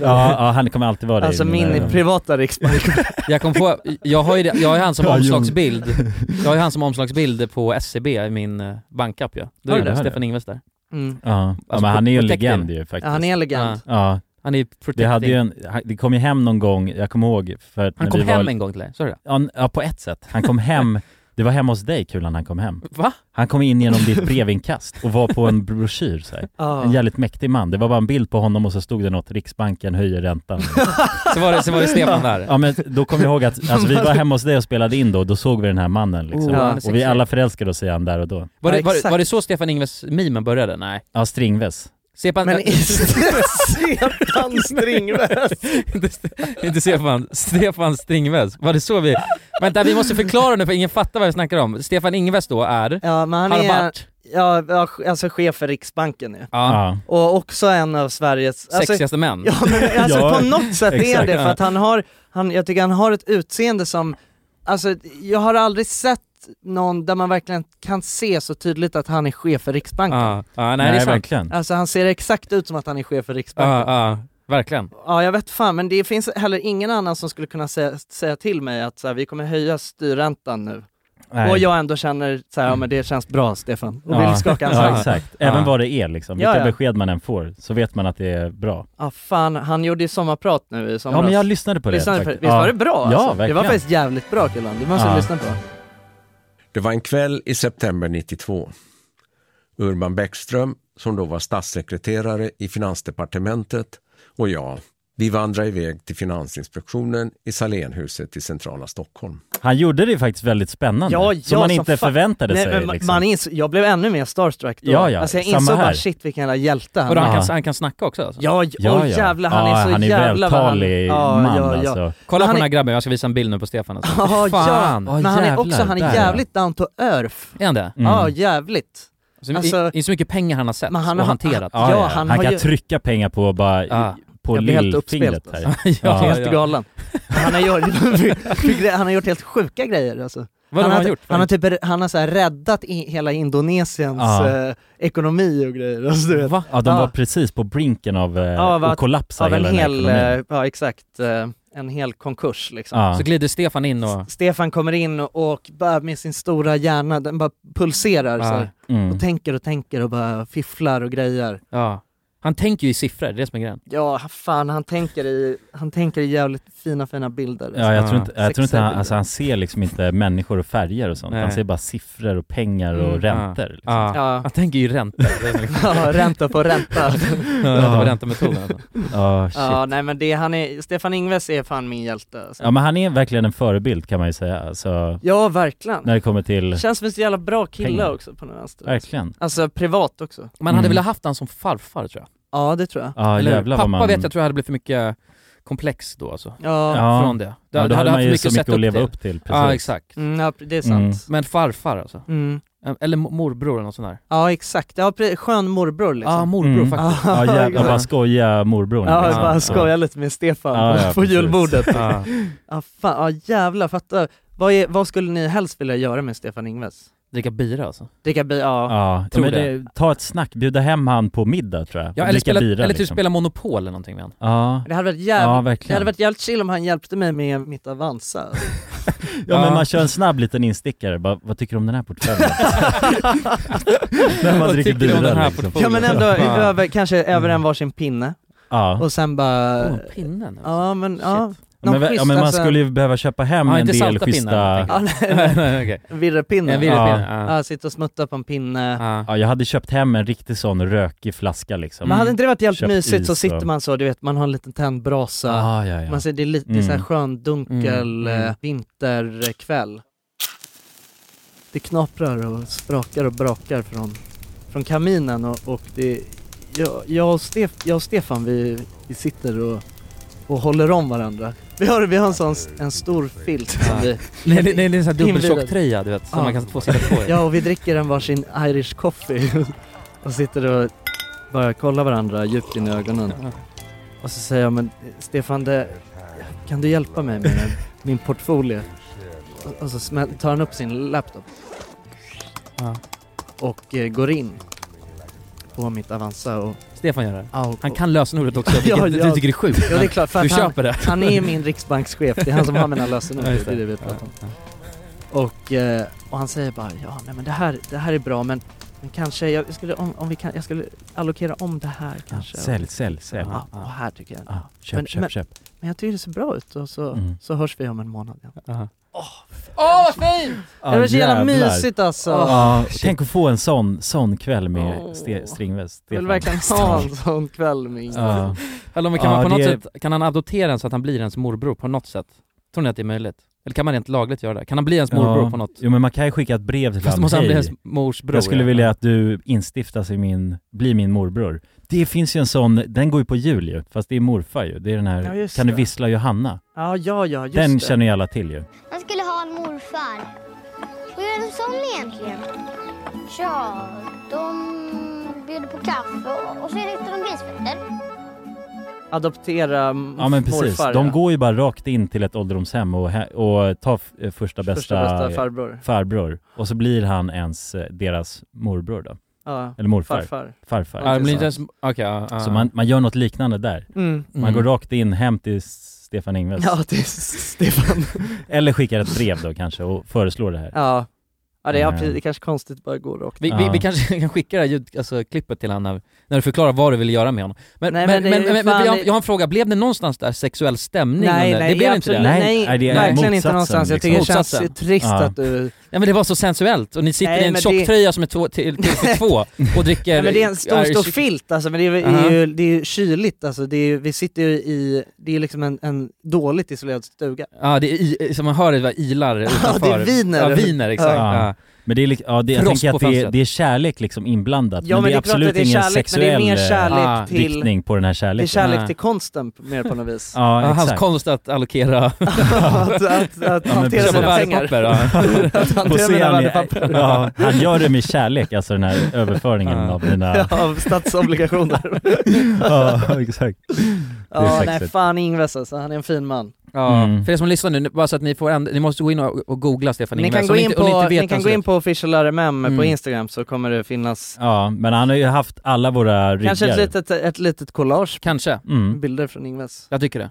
Ja, ja, han kommer alltid vara det. eh, i
Alltså min
mina ögon.
privata riksbankschef.
Jag kom på, jag har ju, det- jag har ju han som
Ja, jo.
omslagsbild, jag har ju han som omslagsbild på SCB i min eh, bankapp ju. Då
Har
är
du
det
det?
Stefan Ingves där.
Mm.
Ja, ja
Alltså,
men han är ju en
protective.
legend ju faktiskt.
Ja, han är elegant.
Ja.
Ja,
Han är
det
protecting.
hade ju en, han- det kom ju hem någon gång, jag kommer ihåg för att
han
när
kom
vi
hem
var,
en gång till dig, sa du det?
Ja, n- Ja, på ett sätt. Han kom hem, det var hemma hos dig Kulan han kom hem.
Va?
Han kom in genom ditt brevinkast och var på en broschyr så här.
Ja.
En jävligt mäktig man. Det var bara en bild på honom och så stod det något, Riksbanken höjer räntan.
Så var det, så var det Stefan där.
Ja men då kom jag ihåg att alltså, vi var hemma hos dig och spelade in då och då såg vi den här mannen liksom.
Oh, han är
och
sexig.
vi alla förälskade oss i han där och då.
Var
Ja,
det, var, det-
exakt.
var det så Stefan Ingves-mimen började? Nej.
Ja, Stringves.
Stefan...
Men Stefan Stringves.
inte, Ste- inte Stefan, Stefan Stringves. Var det så vi... Vänta, vi måste förklara nu för ingen fattar vad vi snackar om. Stefan Ingves då är...
Ja, men han
har
är
varit...
ja, ja, alltså chef för Riksbanken ju.
Ja,
Ja.
Och också en av Sveriges... Alltså,
sexigaste män.
Ja men alltså
Ja,
på något sätt är
exakt.
det, för att han har, han, jag tycker han har ett utseende som, alltså jag har aldrig sett någon där man verkligen kan se så tydligt att han är chef för Riksbanken.
Ja, ja, nej, det är sant.
verkligen.
Alltså han ser exakt ut som att han är chef för Riksbanken.
Ja, ja, verkligen.
Ja jag vet fan, men det finns heller ingen annan som skulle kunna säga, säga till mig att så här, vi kommer höja styrräntan nu. Och
Nej.
jag ändå känner så här, ja men det känns bra Stefan, och
Ja.
vill skaka hans hand.
Ja, exakt. Även
Ja.
vad det är liksom.
alltså- Ja,
Vilka
ja.
besked man än får så vet man att det är bra.
Ja fan, han gjorde ju sommarprat nu i somras.
Ja, men jag lyssnade på det.
Lyssnade på det.
faktiskt.
Visst var det bra?
Ja,
alltså? Det var
verkligen.
faktiskt jävligt bra killen, det måste
Ja.
du lyssna på.
Det var en kväll i september 92. Urban Bäckström, som då var statssekreterare i Finansdepartementet, och jag, vi vandrade iväg till Finansinspektionen i Salénhuset i centrala Stockholm.
Han gjorde det faktiskt väldigt spännande. som man inte
fan.
förväntade
Nej,
sig.
men ma-
liksom.
man insåg, jag blev ännu mer starstruck då.
Ja, ja,
alltså jag
samma
insåg bara
här.
shit vilken jävla hjälte han
Och
är.
han, kan,
Ja.
han kan snacka också alltså.
Ja, ja,
Ja,
oh,
ja.
jävlar han
ja,
är så
han är
jävla vad
vältalig
Ja,
man
ja, ja.
alltså.
Kolla
Men han
på den
är-
här grabben, jag ska visa en bild nu på Stefan alltså.
Ja, ja.
Fan!
Men han är också,
jävlar,
han
där, ja.
är jävligt down to earth.
Är han det?
Mm.
Ja, jävligt.
Alltså,
Alltså-
i, I så mycket pengar han har sett
Men han
och
har-
hanterat.
Ja,
Ja, ja,
ja,
han
Han,
har
kan
ju-
trycka pengar på bara
Ja.
på
Jag blir helt uppspelt,
lillfingret här.
Ja,
Helt
ja.
galen. Han har, gjort, han har gjort helt sjuka grejer alltså.
Vad har han gjort?
Han har, typ, han har så här räddat i, hela Indonesiens
Ja.
eh, ekonomi och grejer. Alltså, du vet.
Va?
Ja, de
Ja.
var precis på brinken av eh,
Ja, va-
att kollapsa
Av en
hela den här
hel,
ekonomin. Ah,
eh, ja exakt, eh, en hel konkurs liksom.
Ja.
Så glider Stefan in och...
Stefan kommer in och bara med sin stora hjärna, den bara pulserar så här,
Mm.
och tänker och tänker och bara fifflar och grejer.
Ja. Han tänker ju i siffror, det är det som är grejen.
Ja, fan han tänker i, han tänker i jävligt fina fina bilder. alltså.
Ja, jag tror
Ah,
inte, jag tror inte
sexiga
han,
bilder.
alltså han ser liksom inte människor och färger och sånt.
Nej. ah.
Han ser bara siffror och pengar och
Mm.
räntor. Liksom.
Ja.
Ja.
Han tänker ju räntor. Det är liksom- som-
Ja, ränta på ränta.
Ränta på ränta-metoden alltså.
Ja, shit.
ja, nej men det, han är, Stefan Ingves är fan min hjälte. Alltså.
Ja men han är verkligen en förebild kan man ju säga, alltså,
Ja, verkligen.
när det kommer till,
Känns som en så jävla bra kille
Pengar.
också på den vänster.
verkligen.
Alltså privat också.
Man hade
Mm.
velat haft han som farfar tror jag.
Ja, det tror jag.
Ja
Eller hur?
jävlar
Pappa
vad man...
vet jag tror jag hade blivit för mycket komplex då alltså.
Ja, ja,
Ja.
Från det. Du
ja, då hade
haft
man ju så
att
mycket
sätta
att leva
till. Ah,
upp till, precis.
Ja exakt.
mm, ja det är
Mm.
sant.
Men farfar alltså.
Mm.
Eller mo- morbror eller något sånt där.
Ja, exakt. Ja, pre- skön morbror
Ja, ah,
liksom.
morbror
Mm.
faktiskt.
Ja jävlar,
exakt.
bara skoja morbror.
Ja, jag
liksom.
bara
Ja.
skojar lite med Stefan
Ja, ja,
på
precis.
julbordet.
Ja.
Ja, fan, ja jävlar, fatta. Vad, är, vad skulle ni helst vilja göra med Stefan Ingves?
Dricka bira alltså?
Dricka bi, ja.
Ja,
tror
men
det.
det, ta ett snack, bjuda hem han på middag tror jag.
Ja,
Och
eller,
dricka
spela,
bira,
eller typ
liksom.
spela Monopol eller någonting med han.
Ja,
Det hade varit
ja
jävligt Det hade
verkligen.
varit jävligt chill om han hjälpte mig med mitt Avanza.
Ja men
Ja.
man kör en snabb liten instickare, bara, vad tycker du om den här portföljen? När man
Vad
dricker
tycker du om
bira
den här
liksom.
portföljen?
Ja men ändå
Fan.
över, kanske över en varsin pinne
Ja.
och sen bara...
Oh, pinnen alltså.
Eh, ja men, ja.
Men,
någon
ja men man
alltså,
skulle ju behöva köpa hem
Ja,
en
inte
del
salta pinnar,
schyssta...
tänker
Ja, nej,
Nej, nej, okej.
Virrepinne.
En virrig
Ja.
pinne, ja.
Ja, sitta och smutta på en pinne.
Ja.
Ja, jag hade köpt hem en riktig sån rökig flaska liksom.
Men hade inte det varit jävligt
Köpt
mysigt så
is
sitter
och-
man så, du vet, man har en liten tändbrasa.
Ja, Mm. Ah, ja, ja.
Man ser, det är lite det är så här
Mm.
skön, dunkel
Mm, mm.
eh, vinterkväll. Det knaprar och sprakar och brakar från, från kaminen och, och det... Jag, jag, och Stef, jag och Stefan vi, vi sitter och, och håller om varandra. Vi har, vi har en sån en stor filt som vi...
Nej, det, det är en sån här dubbeltjock
Inbjuden.
tröja du vet, som
Ja.
man kan få sitta på i.
Ja, och vi dricker en varsin Irish coffee och sitter och bara kollar varandra djupt in i ögonen. Och så säger jag, men Stefan, det, kan du hjälpa mig med den, min portfolio? Och- Och så smä- tar han upp sin laptop
Ja.
och eh, går in på mitt Avanza och...
Stefan gör det.
ja, och-
Han kan lösenordet också, vilket
Ja,
du
ja.
tycker är sjukt.
Ja, det är klart, för
Du
att han,
köper det.
han är ju min riksbankschef, det är han som har mina lösenord,
Ja, just
det är det vi pratar om. Och, eh, och han säger bara ja, nej men det här, det här är bra men, men kanske, jag skulle, om, om vi kan, jag skulle allokera om det här
Ja,
kanske.
sälj, sälj, sälj.
Ja, och här tycker jag.
Ja, köp,
Men-
köp,
men-
köp.
Men jag tycker det ser bra ut och så,
Mm.
så hörs vi om en månad igen.
Åh,
Åh vad fint! det var så
Ah,
jävla mysigt alltså.
Ja, Ah, tänk att få en sån, sån kväll med
Åh.
ste, Stringves,
jag vill
Stefan.
verkligen ha en sån kväll med Ingmar.
Ja.
Eller men kan,
Ja,
man på något
det-
sätt, kan han adoptera en så att han blir ens morbror på något sätt? Tror ni att det är möjligt? Eller kan man rent lagligt göra det? Kan han bli ens morbror
Ja.
på något?
Jo men man kan ju skicka ett brev till
Fast
honom.
måste han bli
Hej,
ens mors bror?
jag skulle
ja.
vilja att du instiftas i min, bli min morbror. Det finns ju en sån, den går ju på jul ju, fast det är morfar ju. Det är den
Ja,
här,
just
kan du
det.
vissla Johanna?
ja, ja, ja, just
den
det.
känner ju alla till ju.
Jag skulle ha en morfar. Vad gör en sån egentligen? Tja, de bjuder på kaffe och- och så hittar de grisfötter.
Adoptera m-
Ja men precis,
morfar.
de
ja.
går ju bara rakt in till ett ålderdomshem och, hä- och tar f- eh, första bästa,
Första
eh,
bästa farbror.
farbror. Och så blir han ens eh, deras morbror då,
Ja,
eller morfar,
farfar.
farfar.
Ja, han blir inte ens... Okej, ja, ja.
Så man, man gör något liknande där.
Mm.
Man
Mm.
går rakt in hem till S- Stefan Ingves.
Ja, det är S- Stefan.
Eller skickar ett brev då kanske och föreslår det här.
Ja. Ja det är,
Eh.
ja, precis. det är kanske konstigt att bara gå rakt.
Vi, vi,
Ja.
vi kanske kan skicka det här ljud, alltså, klippet till honom när, när du förklarar vad du vill göra med honom. Men,
Nej,
men,
men
men,
det är
men,
ju
men,
fan-
jag, jag har en fråga, blev det någonstans där sexuell stämning?
Nej,
under?
nej,
det blev
absolut,
inte det?
Nej,
nej,
nej, det är
verkligen
motsatsen,
inte någonstans. Jag
liksom.
tycker det känns
Motsatsen.
trist
Ja.
att du...
Ja men det var så sensuellt och ni sitter
Nej,
i en
men
tjocktröja som är två, till, till för två och dricker...
Nej, men det är en stor, stor
Irish-
filt alltså, men det är, ju-
Aha.
det är ju, det är ju kyligt alltså. Det är, ju- vi sitter ju i, det är liksom en, en dåligt isolerad stuga.
Ja det är i, som man hör det var ilar utanför.
det är viner.
Ja viner, exakt.
Ja.
Ja.
Men det är, lik- ja, det, jag
Frost
tänker
på
att det är,
fönstret.
det är kärlek liksom inblandat,
Ja,
men, det
men det
är
är klart
absolut
att det är
ingen
kärlek, men
sexuell
det är mer
eh,
kärlek
ah,
till-
riktning på den här
Det är
kärleken.
kärlek
Ja.
till konsten p- mer på något vis.
Ah. Ja,
Ja, hans
exakt.
konst att allokera,
att att, att
men
hantera
precis.
sina
köpa
pengar.
värdepapper. Ja.
På
Att hantera mina
scen,
värdepapper.
ja, han gör det med kärlek, alltså den här överföringen
Ja.
av mina...
Ja, Av statsobligationer.
Ja, exakt.
ja, nej
sexigt.
fan Ingves alltså, han är en fin man.
Ja.
Mm.
För er som lyssnar nu, bara så att ni får änd- ni måste gå in och, och googla Stefan
Ni
Ingves.
kan, gå
om
in,
inte- om ni
på,
inte vet
ni kan
hans
gå
rätt.
in på official RMM på
Mm.
Instagram så kommer det finnas
Ja, men han har ju haft alla våra ryggar.
kanske ett litet, ett litet collage
Kanske,
Mm.
bilder från Ingves.
jag tycker det.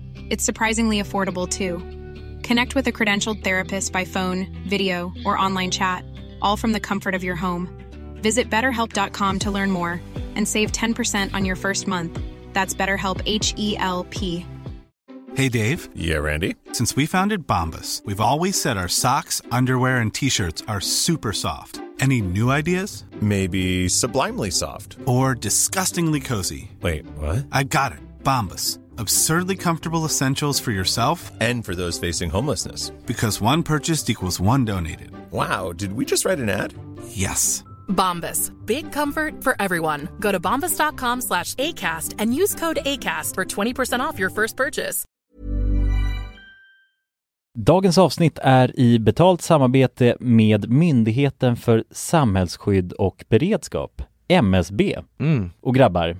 It's surprisingly affordable too. Connect with a credentialed therapist by phone, video, or online chat, all from the comfort of your home. Visit betterhelp.com to learn more and save 10% on your first month. That's BetterHelp, H E L P.
Hey, Dave.
Yeah, Randy.
Since we founded Bombus, we've always said our socks, underwear, and t shirts are super soft. Any new ideas?
Maybe sublimely soft.
Or disgustingly cozy.
Wait, what?
I got it. Bombus. Absurdly comfortable essentials for yourself
And for those facing homelessness.
because one purchased equals one donated.
Wow, did we just write an ad?
Yes.
Bombas. Big comfort for everyone. Go to bombas.com slash ACAST and use code ACAST for 20% off your first purchase.
Dagens avsnitt är i betalt samarbete med Myndigheten för samhällsskydd och beredskap, MSB. Och grabbar,
Mm,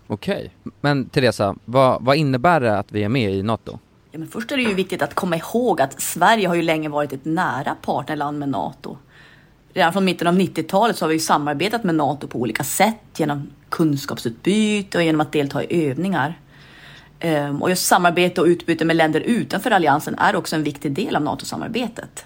Okej. Men Teresa, vad, vad innebär det att vi är med i NATO?
Ja, men först är det ju viktigt att komma ihåg att Sverige har ju länge varit ett nära partnerland med Nato. Redan från mitten av 90-talet så har vi ju samarbetat med Nato på olika sätt genom kunskapsutbyte och genom att delta i övningar. Ehm, Och just samarbete och utbyte med länder utanför alliansen är också en viktig del av NATO-samarbetet.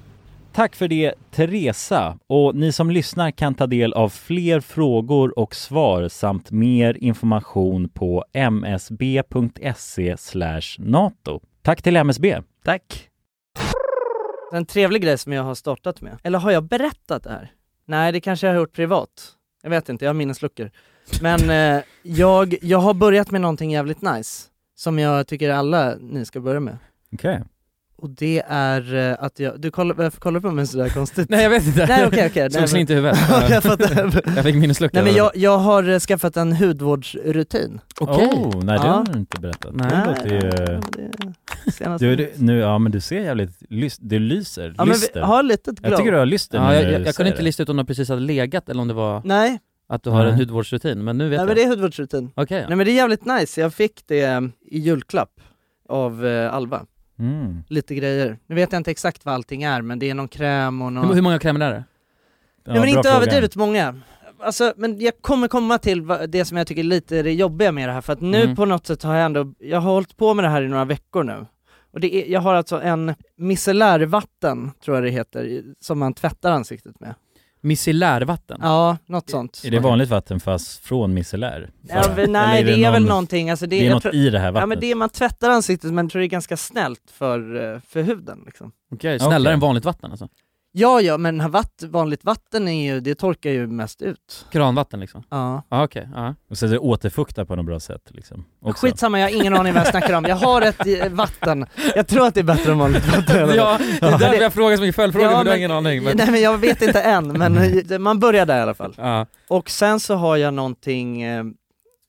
Tack för det Teresa och ni som lyssnar kan ta del av fler frågor och svar samt mer information på msb.se E NATO. Tack till MSB.
Tack. En trevlig grej som jag har startat med. Eller har jag berättat det här? Nej, det kanske jag har gjort privat. Jag vet inte, jag har minnesluckor. Men eh, jag, jag har börjat med någonting jävligt nice, som jag tycker alla ni ska börja med.
Okej.
Och det är eh, att jag, du kollar, varför kollar du på mig sådär konstigt?
Nej jag vet inte.
Nej okej okej.
Såg
Nej, men-
slint i huvudet.
Ja, jag fattar.
jag fick minneslucka.
Nej men jag, jag har eh, skaffat en hudvårdsrutin.
Oh, nej det
Ja.
har du inte berättat.
Nej.
Det låter ju...
Senast-
Du, du, nu, ja men du ser jävligt, lys, du lyser,
Ja, men vi-
lyster.
har litet glow.
Jag tycker du har lyster
ja,
nu
jag,
när
jag,
du
jag
säger
kunde inte
det.
lista ut om de precis hade legat eller om det var
Nej,
att du har en
Nej.
hudvårdsrutin, men nu vet
nej men
jag.
det är hudvårdsrutin.
Okej.
Nej men det är jävligt nice, jag fick det eh, i julklapp av eh, Alva.
Mm.
Lite grejer. Nu vet jag inte exakt vad allting är men det är någon kräm och någon...
Hur, hur många krämer är det?
Ja,
Nej men
bra
inte
fråga.
överdrivet många. Alltså, men jag kommer komma till va- det som jag tycker är lite är det jobbiga med det här, för att nu
Mm.
på något sätt har jag ändå, jag har hållit på med det här i några veckor nu. Och det är, jag har alltså en micellärvatten, tror jag det heter, i- som man tvättar ansiktet med.
Micellärvatten?
Ja, något sånt.
Är det vanligt vatten fast från micellär?
Ja,
För-
men, nej,
eller
det är väl
någon-
någonting, alltså det,
det är
jag
något i det här
Ja men
vattnet.
det är, man tvättar ansiktet men jag tror det är ganska snällt för, eh, för huden liksom.
Okej, snällare
Okej.
än vanligt vatten alltså?
Ja ja, men vatt, vanligt vatten är ju, det torkar ju mest ut.
Kranvatten liksom?
Ja.
Ja okej, ja.
Och så är det återfuktar på något bra sätt liksom. Också.
Skitsamma, jag har ingen aning vad jag snackar om. Jag har ett eh, vatten. Jag tror att det är bättre än vanligt vatten.
Ja, det är därför jag frågar så mycket följdfrågor,
Ja,
för du har
men-
ingen aning. Men...
Nej men jag vet inte än, men eh, man börjar där i alla fall.
Ja.
Och sen så har jag någonting eh,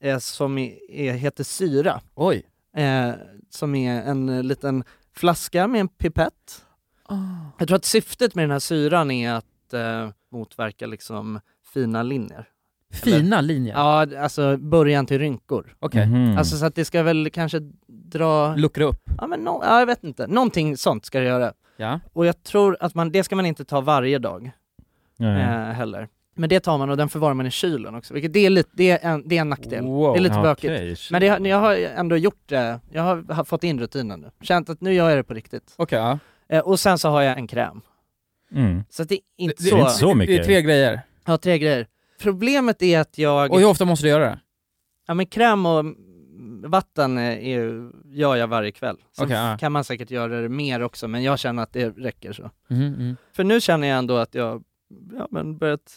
eh, som är, heter syra,
Oj.
eh, som är en eh, liten flaska med en pipett.
Ah.
Jag tror att syftet med den här syran är att eh, motverka liksom fina linjer.
Fina linjer?
Ja, alltså början till rynkor.
Okej,
Mhm.
Alltså så att det ska väl kanske dra
luckra upp.
Ja men nå- ja, jag vet inte, någonting sånt ska det göra.
Ja.
Och jag tror att man, det ska man inte ta varje dag
Nej.
eh, heller. Men det tar man och den förvarar man i kylen också, vilket det är, lite, det är, en, det är en nackdel.
Wow.
Det är lite
Ja,
bökigt.
okej,
Men det, har- jag har ändå gjort det, jag har, har fått in rutinen nu. Känt att nu gör jag det på riktigt.
Okej, ja.
Eh, och sen så har jag en kräm.
Mm.
Så att det är inte
Det- det-
så...
det är inte så mycket. det är tre grejer.
Ja, tre grejer. Problemet är att jag...
Och hur ofta måste du göra det?
Ja men kräm och mm, vatten är, är, ju- gör jag varje kväll. Sen
Okej, ja.
kan man säkert göra det mer också, men jag känner att det räcker så.
Mhm, mhm.
För nu känner jag ändå att jag, ja men börjat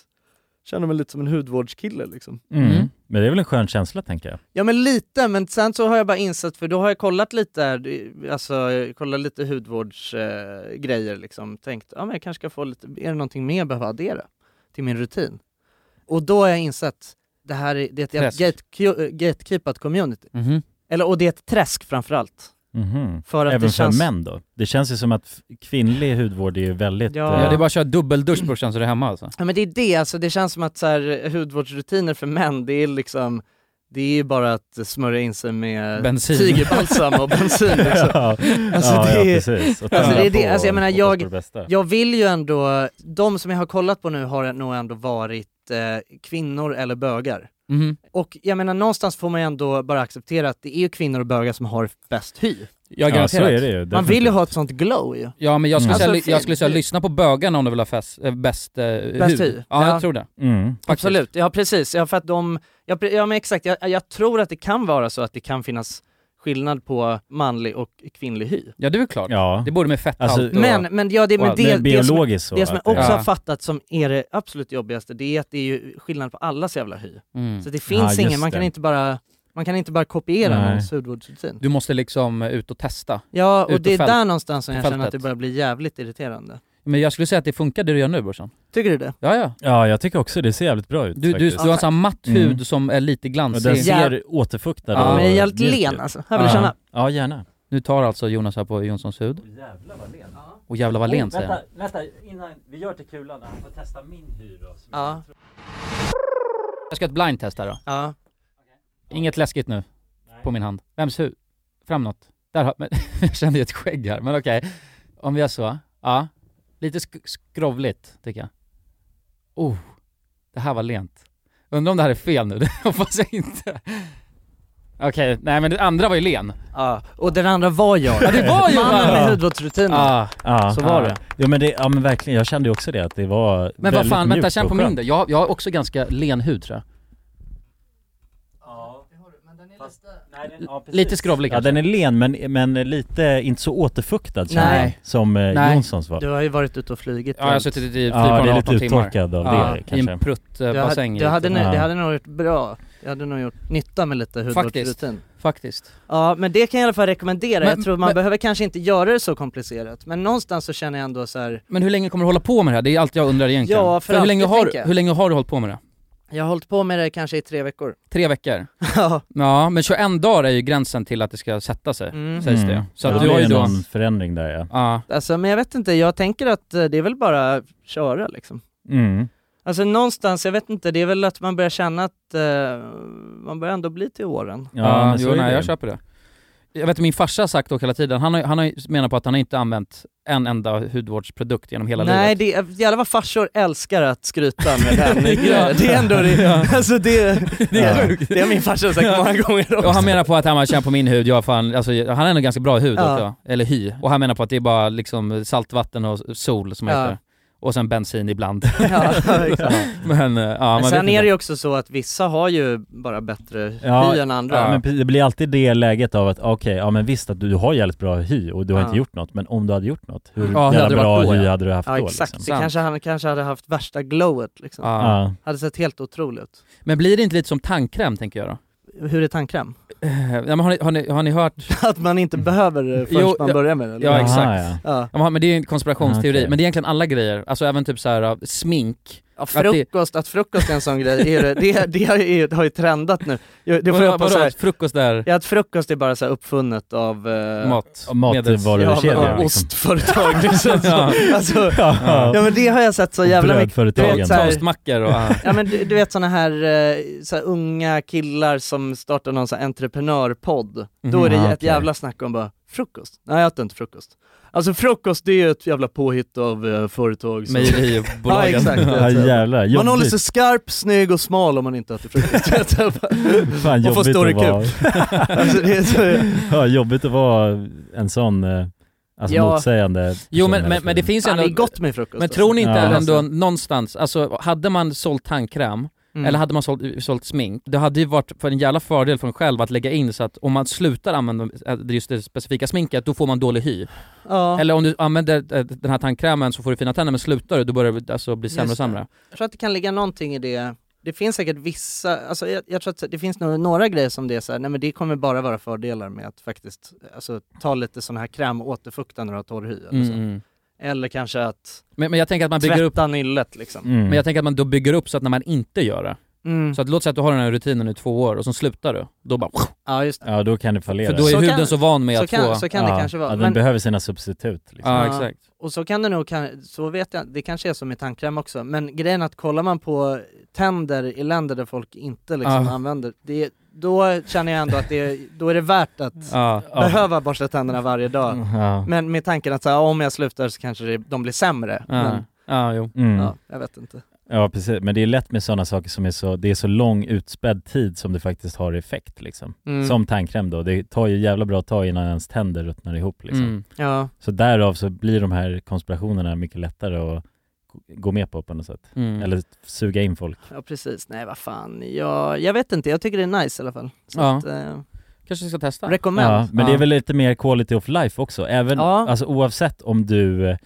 känna mig lite som en hudvårdskille liksom.
Mm. Men det är väl en skön känsla tänker jag.
Ja men lite, men sen så har jag bara insett, för då har jag kollat lite, här, alltså jag kollar lite hudvårdsgrejer eh, grejer liksom, tänkt, ja men jag kanske ska få lite, är det någonting mer jag behöver addera till min rutin? Och då har jag insett, det här är, det är ett
Träsk.
gate, gatekeepat community.
Mhm.
Eller, och det är ett träsk framförallt.
Mhm.
För att
Även
det känns-
för män då? Det känns ju som att f- kvinnlig hudvård är ju väldigt... eh,
Ja. Ja, det är
bara att köra dubbeldusch brorsan så är du hemma alltså.
Ja men det är det, alltså det känns som att så här, hudvårdsrutiner för män, det är liksom det är ju bara att smörja in sig med
Bensin.
tigerbalsam och bensin liksom.
Ja.
alltså,
Ja,
det
ja,
är,
precis. Och
alltså, det är
tända
det,
på
alltså jag menar
och
jag,
hoppas på det bästa.
jag vill ju ändå, de som jag har kollat på nu har nog ändå varit eh, kvinnor eller bögar.
Mhm.
Och jag menar någonstans får man ju ändå bara acceptera att det är ju kvinnor och bögar som har bäst hy.
Ja, garanterat. så är det ju,
Man
definitivt.
vill ju ha ett sånt glow ju.
Ja men jag skulle,
Alltså,
säga, jag skulle säga lyssna på bögarna om du vill ha fest, eh, bäst, eh,
Bäst
hud.
hy.
Ja, jag tror det.
Mm.
Faktiskt.
Absolut, ja precis. Ja, för att de, ja, pre- ja men exakt, jag, jag tror att det kan vara så att det kan finnas skillnad på manlig och kvinnlig hy.
Ja det är väl klart.
Ja.
Det borde med fett
Alltså-
allt och...
Men, men ja, det, men
och-
det, det, som, det
biologiskt så
som jag
att det-
också har
Ja.
fattat som är det absolut jobbigaste, det är att det är ju skillnad på allas jävla hy.
Mm.
Så det finns
Ja,
ingen,
just
man kan,
det.
inte bara, man kan inte bara kopiera
Nej.
någons hudvårdsrutin.
Du måste liksom eh, ut och testa.
Ja, och
Ut
det är
fält-
där någonstans som
på
jag känner att det
fältet.
börjar bli jävligt irriterande.
Men jag skulle säga att det funkar det du gör nu brorsan.
Tycker du det?
Ja ja.
Ja, jag tycker också det ser jävligt bra ut
Du, du, du
faktiskt.
har en sån här matt hud
Mm.
som är lite
Och
glansig.
den ser återfuktad
Ja,
och
men jag är
jävligt
mjuk
len,
ut.
alltså. Här vill jag
Ja.
känna.
Ja, gärna.
Nu tar alltså Jonas här på Jonssons hud. Och jävlar vad len säger han.
vänta, innan vi gör till kulan han får testa min hy då.
Ja.
Jag ska göra ett blind test här då.
Ja.
Inget läskigt nu. På min hand. Vems hud? Framåt. Där har, men, jag kände ju ett skägg här, men okej. Om vi gör så. Ja. Lite sk- skrovligt, tycker jag. Oh. Det här var lent. Undrar om det här är fel nu, det hoppas jag inte. Okej, nej men det andra var ju len.
Ja, och den andra var jag.
Ja, det var ju Ah,
Mannen
jag.
med hudvårdsrutinen.
Ja.
Så var
ja.
det.
Ja men, det, ja men verkligen, jag kände ju också det att det var
Men vad
väldigt
fan, vänta
mjukt
känn
och
på min
skönt.
då. Jag, jag har också ganska len hud tror jag. Lite skrovlig
Ja
kanske.
den är len men, men lite, inte så återfuktad känner
Nej.
jag, som eh,
Nej.
Jonssons var.
Du har ju varit ute och flugit.
Ja, jag har
runt.
suttit i typ flygplan
det är
18
lite
timmar.
uttorkad av
Ja,
det,
I en
kanske.
Du hade-
pruttbassäng.
du hade, nu,
Ja.
det hade nog gjort bra. Det hade nog gjort nytta med lite
Faktiskt.
hudvårdsrutin.
Faktiskt.
Ja, men det kan jag i alla fall rekommendera.
Men-
jag tror man
men-
behöver kanske inte göra det så komplicerat, men någonstans så känner jag ändå så här.
Men hur länge kommer du hålla på med det här? Det är allt jag undrar egentligen.
Ja, för
hur,
alltid,
länge har,
tänker jag.
hur länge har du hållit på med det?
jag har hållit på med det kanske i tre veckor.
Tre veckor?
Ja.
Ja, men 21 dagar är ju gränsen till att det ska sätta sig,
Mm.
sägs
Mm.
det. Så
Ja,
att
det
du har
är
ju då...
någon förändring där ja.
Ja.
Alltså, men jag vet inte, jag tänker att eh, det är väl bara att köra liksom.
Mm.
Alltså någonstans, jag vet inte, det är väl att man börjar känna att eh, man börjar ändå bli till åren.
Ja, jo, nej, jag köper det. Jag vet min farsa har sagt dock hela tiden, han, har, han har, ju- menar på att han har inte använt en enda hudvårdsprodukt genom hela livet.
Nej, det är, jävlar vad farsor älskar att skryta med den
Ja.
grejen. Det är ändå det,
Ja.
alltså det,
Det är sjukt.
det har min farsa sagt många gånger också.
Och han menar på att han har känt på min hud, jag har fan, alltså, han har ändå ganska bra hud
Ja.
också, eller hy. Och han menar på att det är bara liksom saltvatten och sol som
Ja.
heter. Och sen bensin ibland.
Ja, exakt.
men eh, ja, man
Men
vet
sen är
inte.
det ju också så att vissa har ju bara bättre hy än andra.
ja, men pre- det blir alltid det läget av att okej, ja men visst att du, du har jävligt bra hy och du har
Ja.
inte gjort något, men om du hade gjort något, hur
Ja, hur
jävla
hade det
bra
varit då,
hy
ja.
hade du haft
ja
då?
exakt,
Liksom?
det kanske han kanske hade haft värsta glowet liksom.
Ja.
Ja.
Hade sett helt otroligt ut.
Men blir det inte lite som tandkräm tänker jag då?
Hur är tandkräm?
Eh, ja, men har, ni, har, ni, har ni hört?
Att man inte behöver det förrän
Jo,
man
ja.
börjar med det? eller?
Ja
Aha,
exakt.
ja. Ja.
Ja. men det är ju en konspirationsteori,
Ah, okej.
men det är egentligen alla grejer. Alltså även typ så här uh, smink.
Ja,
Att det-
frukost, att frukost är en sån grej, är det, det, det har, ju, har ju trendat nu. Jag- Det får
Vadå-
jag på
vadå,
så här,
att frukost där,
ja, att frukost är bara så här uppfunnet av eh,
mat,
Och matvarukedja,
ja, men-
liksom.
ostföretag liksom.
Ja.
Alltså,
Ja.
ja. men det har jag sett så jävla mycket. Du
Brödföretagen.
vet, så här-
Toastmackor och... ja.
Ja men du, du vet såna här, eh, så här unga killar som startar någon sån här entreprenörpodd, då är det
Mhm,
ett
okej.
jävla snack om bara Frukost? Nej jag äter inte frukost. Alltså frukost det är ju ett jävla påhitt av eh, företag som...
Mejeribolagen.
Ja exakt.
Ja, jävlar,
man
jobbigt.
håller sig skarp, snygg och smal om man inte äter frukost.
Fan
man får
jobbigt
större
att vara...
kupp. alltså, det är så...
ja, jobbigt att vara en sån, eh, alltså
Ja.
motsägande
Jo
person
men,
hela
men, men det
tiden.
finns ju
Fan,
ändå...
det är gott med frukost,
Men
alltså.
tror ni inte
Ja.
ändå någonstans, alltså hade man sålt tandkräm,
Mm.
eller hade man sålt, sålt smink, det hade ju varit för en jävla fördel för en själv att lägga in så att om man slutar använda äh, just det specifika sminket, då får man dålig hy.
Ja.
Eller om du använder äh, den här tandkrämen så får du fina tänder, men slutar du då börjar det alltså bli sämre
Just
och sämre.
Jag tror att det kan ligga någonting i det. Det finns säkert vissa, alltså jag, jag tror att det finns nog några grejer som det är så här, nej men det kommer bara vara fördelar med att faktiskt alltså, ta lite sån här kräm och återfukta när du har torr hy. Eller, så.
Mm, mm.
eller kanske att
Men, men jag tänker att man bygger upp...
alltså. tvätta nyllet liksom.
Mm.
Men jag tänker att man då bygger upp så att när man inte gör det,
Mm.
så att låt säga att du har den här rutinen i två år och så slutar du, då bara...
Ja just det.
Ja då kan det fallera.
För då är
Så
huden
kan-
så van med
så
att
kan-
få...
så kan det kanske vara,
Ja, den
men-
behöver sina substitut. Liksom.
Ja, exakt.
Och så kan det nog, kan- så vet jag det kanske är som i tandkräm också, men grejen är att kollar man på tänder i länder där folk inte liksom
Ja.
använder, det, då känner jag ändå att det, då är det värt att
Ja, ja. Mm.
behöva borsta tänderna varje dag.
Ja.
Men med tanken att så här, om jag slutar så kanske det, de blir sämre.
Ja,
Men,
ja jo.
Mm.
ja, jag vet inte.
Ja precis, men det är lätt med sådana saker som är så, det är så lång utspädd tid som det faktiskt har effekt liksom.
Mm.
Som tandkräm då, det tar ju jävla bra tag innan ens tänder ruttnar ihop liksom.
Mm.
Ja.
Så därav så blir de här konspirationerna mycket lättare att gå- gå med på på något sätt.
Mm.
Eller suga in folk.
Ja precis, nej vad fan. Jag, jag vet inte, jag tycker det är nice i alla fall. Så
Ja.
att, eh,
Kanske ska testa?
recommend.
Ja, men det är väl lite mer quality of life också, även,
Ja.
alltså oavsett om du eh,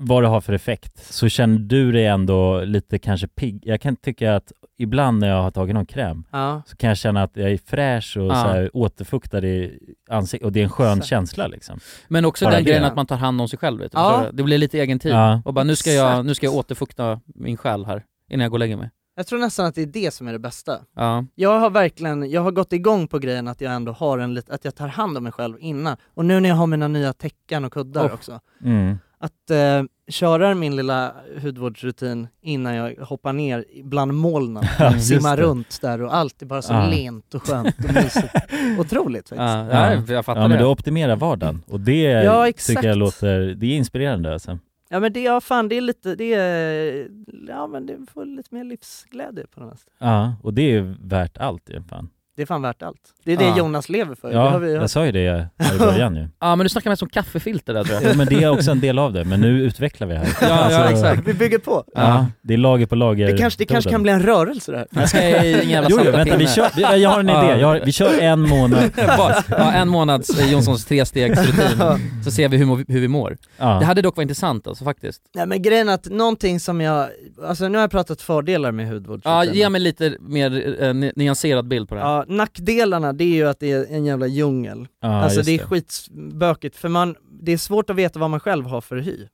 vad det har för effekt, så känner du dig ändå lite kanske pigg. Jag kan tycka att ibland när jag har tagit någon kräm
Ja.
så kan jag känna att jag är fräsch och
Ja.
så här, återfuktad i ansiktet och det är en skön
Exakt.
känsla liksom.
Men också
Bara
den
det.
grejen att man tar hand om sig själv vet du.
Ja.
Så Det blir lite egen
Typ.
tid.
Ja.
Och bara nu ska, jag,
Exakt.
nu ska jag återfukta min själ här innan jag går och lägger mig.
Jag tror nästan att det är det som är det bästa.
Ja.
Jag har verkligen, jag har gått igång på grejen att jag ändå har en lit, att jag tar hand om mig själv innan. Och nu när jag har mina nya täcken och kuddar
Oh.
också.
Mm.
Att eh, köra min lilla hudvårdsrutin innan jag hoppar ner bland molnen,
Ja, just
simmar
det. Ah.
runt där och allt är bara så
Ja.
lent och skönt och mysigt. Otroligt faktiskt.
Ah.
Ja, ja. jag fattar
ja, men
det.
du optimerar vardagen och det
Ja, exakt.
tycker jag låter, det är inspirerande alltså.
Ja men det, ja fan det är lite, det är, ja men det får lite mer livsglädje på något sätt.
Ja, och det är ju värt allt ju fan.
Det är fan värt allt. Det är det
Ja.
Jonas lever för. det har
Ah. Ja,
vi hört.
jag sa ju det här i början ju.
Ja men du snackar mest om kaffefilter där tror
Ja,
jag.
men det är också en del av det, men nu utvecklar vi här. Alltså,
Ja, ja exakt.
Vi bygger på.
Ja, det är lager på lager.
Det kanske, det kanske kan bli en rörelse det här.
Jag ska i en jävla
Jo, jo,
salta
vänta, vi
pinne.
kör, vi, jag har en
Ja.
idé. Jag har, vi kör en månad.
Bara- ja, en månads eh, Jonssons trestegsrutin, så ser vi hur, må- hur vi mår. Det
Ja.
hade dock varit intressant alltså faktiskt.
Nej men grejen är att någonting som jag, alltså nu har jag pratat fördelar med
Ja,
hudvårdsrutiner.
ge mig lite mer eh, ny- nyanserad bild på det här.
Ja, nackdelarna det är ju att det är en jävla djungel.
Ja,
alltså
just
det är skitbökigt för man, det är svårt att veta vad man själv har för hy.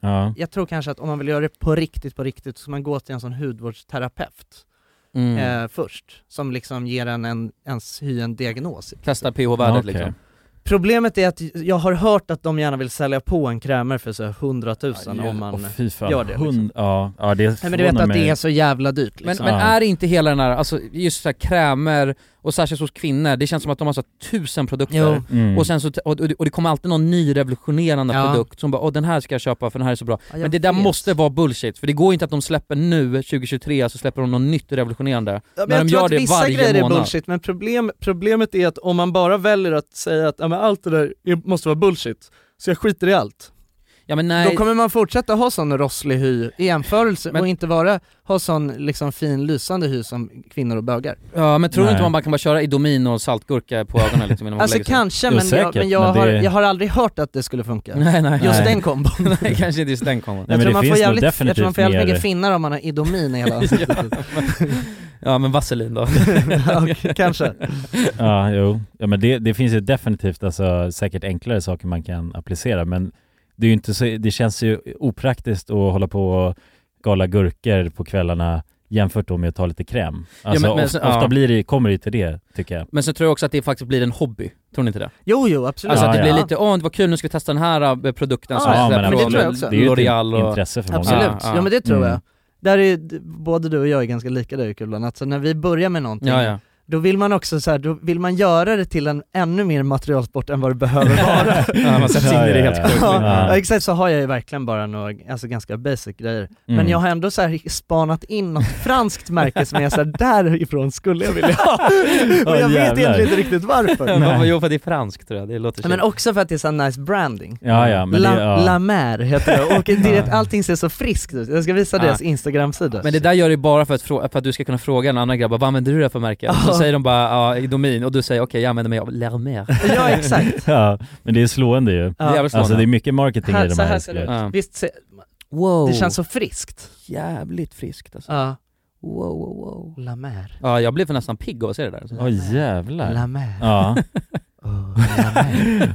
Ja.
Jag tror kanske att om man vill göra det på riktigt, på riktigt, så ska man gå till en sån hudvårdsterapeut
Mm.
eh, först, som liksom ger en, en ens hy en diagnos.
Testa pH-värdet
Okej.
liksom.
Problemet är att jag har hört att de gärna vill sälja på en krämer för så här 100 000 om man...
Åh, fy fan.
gör det, liksom.
Hund, ja, ja, det
Nej men du vet att det är
mig.
så jävla dyrt liksom.
Men, men
Ja.
är inte hela den här, alltså just så här krämer, och särskilt hos kvinnor, det känns som att de har så här tusen produkter.
Jo.
Mm.
Och, sen så, och, och och det kommer alltid någon ny revolutionerande
Ja.
produkt som bara åh den här ska jag köpa för den här är så bra.
Ja, jag
Men det där
vet.
måste vara bullshit, för det går inte att de släpper nu 2023 så släpper de något nytt revolutionerande.
Ja, men
när
jag
de
tror
gör
att
det
vissa
varje
grejer är
månad.
bullshit, men problem, problemet är att om man bara väljer att säga att ja, men allt det där är- måste vara bullshit, så jag skiter i allt.
Ja men nej,
Då kommer man fortsätta ha sån rosslig hy i jämförelse
Men-
och inte vara, ha sån liksom fin lysande hy som kvinnor och bögar.
ja, men tror du
Nej.
inte man bara kan bara köra Idomin och saltgurka på ögonen liksom innan man
Alltså
går och lägger sig?
kanske, men, jag,
Osäkert,
men, jag,
men det-
har, jag har aldrig hört att det skulle funka.
Nej nej.
Just
nej.
den kombon.
nej kanske inte just den kommer.
Nej,
jag,
men
tror
det
man får
finns nog
jävligt, jag tror man
definitivt
får jävligt
mer-
mycket finnar om man har idomin i hela ansiktet.
Ja men vaselin då.
Ja, k- Kanske.
Ja, jo. Ja, men det, det finns ju definitivt alltså, säkert enklare saker man kan applicera, men det, är ju inte så, det känns ju opraktiskt att hålla på och skala gurkor på kvällarna jämfört då med att ta lite kräm. Alltså,
men- men
of-
så-
ofta
ja.
blir det, kommer det ju till det, tycker jag.
Men så tror jag också att det faktiskt blir en hobby, tror ni inte det?
Jo, jo, absolut.
Alltså
Ja,
att det blir
ja.
lite, åh det var kul, nu ska vi testa den här eh, produkten som
Ja,
är
men
från
det tror jag också.
Det är ju
L'Oreal
ett
och...
intresse för många.
Absolut,
Ja,
ja,
ja.
men det tror
Mm.
jag. Där är, d- både du och jag är ganska lika där i Kulan, alltså när vi börjar med någonting,
Ja, ja.
då vill man också så här, då vill man göra det till en ännu mer materialsport än vad det behöver vara.
Ja, man sätts in i det helt sjukt.
Ja,
Ja.
ja, exakt så har jag ju verkligen bara några, alltså ganska basic grejer. Men
Mm.
jag har ändå så här spanat in något franskt märke som jag så här, därifrån skulle jag vilja ha. Och jag vet egentligen inte riktigt varför.
Nej. Jo för det är franskt tror jag, det låter
Ja, Men också för att det är så här nice branding.
Ja, ja, men
La,
det- ja.
La Mer heter det, och det, är att allting ser så friskt ut. Jag ska visa
Ja.
deras instagramsida.
Men det där gör du bara för att, frå- för att du ska kunna fråga en annan grabb, vad använder du det här för märke? Och så
Ja.
säger de bara ja, i domin och du säger okej jag använder mig av Lermer.
Ja exakt.
ja, men det är slående ju.
Det är jävligt slående.
Alltså det är mycket marketing i de
så
här.
här ser det ut.
grejerna.
Visst, se,
Wow.
det känns så
Oh.
friskt.
Jävligt friskt alltså.
Ja.
Wow, wow, wow.
La Mer.
Ja jag blev nästan pigg av att se det där.
Åh jävlar.
La Mer. Oh,
Ja.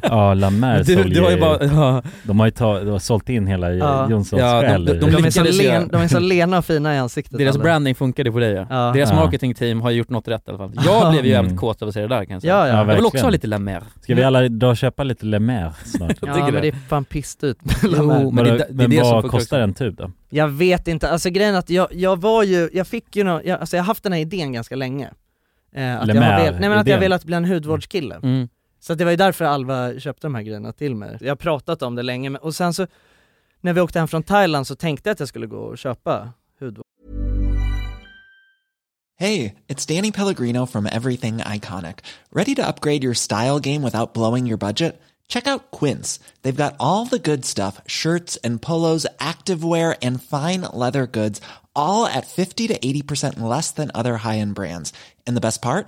Ja, La Mer
Du-
sålde
du har ju bara- ja.
De har ju ta, de har sålt in hela
Ja.
Jonssons
Ja, de-
själ.
de-
i-
de-
De är, så
lyckades göra.
len, de är så lena och fina i ansiktet.
Deras
alla.
branding funkade på dig ja.
Ja.
Deras
Ja.
marketingteam har gjort något rätt i alla fall. Jag blev ju jävligt kåt av att se det där kan jag säga.
Ja, ja. Ja,
jag vill också
verkligen.
ha lite La Mer.
Ska vi alla dra och köpa lite Le Mer snart?
Jag
Ja
tycker
men
det.
det är fan pissed ut
Jo,
La Mer.
men det är
Vadå,
det- det är
men
det som
vad
folk
kostar
också-
en tub då?
Jag vet inte, alltså grejen är att jag, jag var ju, jag fick ju nå, jag, alltså jag har haft den här idén ganska länge. Eh, att
Le
jag har
Maire,
velat, nej men att jag
idén.
velat bli en hudvårdskille.
Mm.
Så att det var ju därför Alva köpte de här grejerna till mig. Jag har pratat om det länge, men, och sen så när vi åkte hem från Thailand så tänkte jag att jag skulle gå och köpa hudvård.
Hey, it's Danny Pellegrino from Everything Iconic. Ready to upgrade your style game without blowing your budget? Check out Quince. They've got all the good stuff shirts and polos, activewear, and fine leather goods, all at 50 to 80% less than other high end brands. And the best part?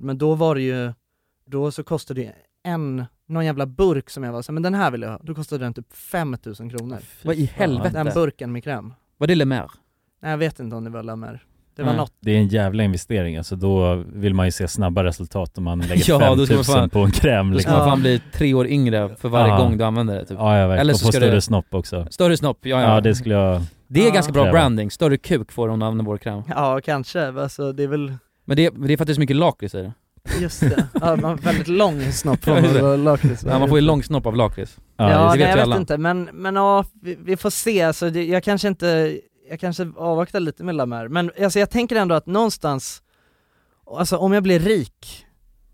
Men då var det ju, då så kostade det en, någon jävla burk som jag var så här, men den här vill jag ha. Då kostade den typ 5000 kronor.
Vad i helvete?
Den burken med kräm.
Var det Le Mer?
Nej jag vet inte om det var La Mer. Det var
Nej.
något.
Det är en jävla investering, alltså då vill man ju se snabba resultat om man lägger
Ja, då ska
5000
man fan-
på en kräm
Då ska man
liksom.
fan bli tre år yngre för varje
Ja.
gång du använder det typ.
Ja, ja verkligen.
Eller
Och
så
få
ska
större
det-
snopp också.
Större snopp, ja, ja.
Ja, det skulle jag
Det är
Ja.
ganska bra
kräva.
branding, större kuk får hon använda vår kräm.
Ja kanske, alltså det är väl
Men det, men det är för att det är så mycket lakrits i det.
Just det, ja, man har väldigt lång snopp
Ja,
från
just det.
lakrits
Ja, man får ju lång snopp av lakrits.
Ja,
det
nej,
vet ju
jag vet
alla.
inte, men, men ja, vi, vi får se, alltså, det, jag kanske inte, jag kanske avvaktar lite med Lamer, men alltså, jag tänker ändå att någonstans, alltså om jag blir rik,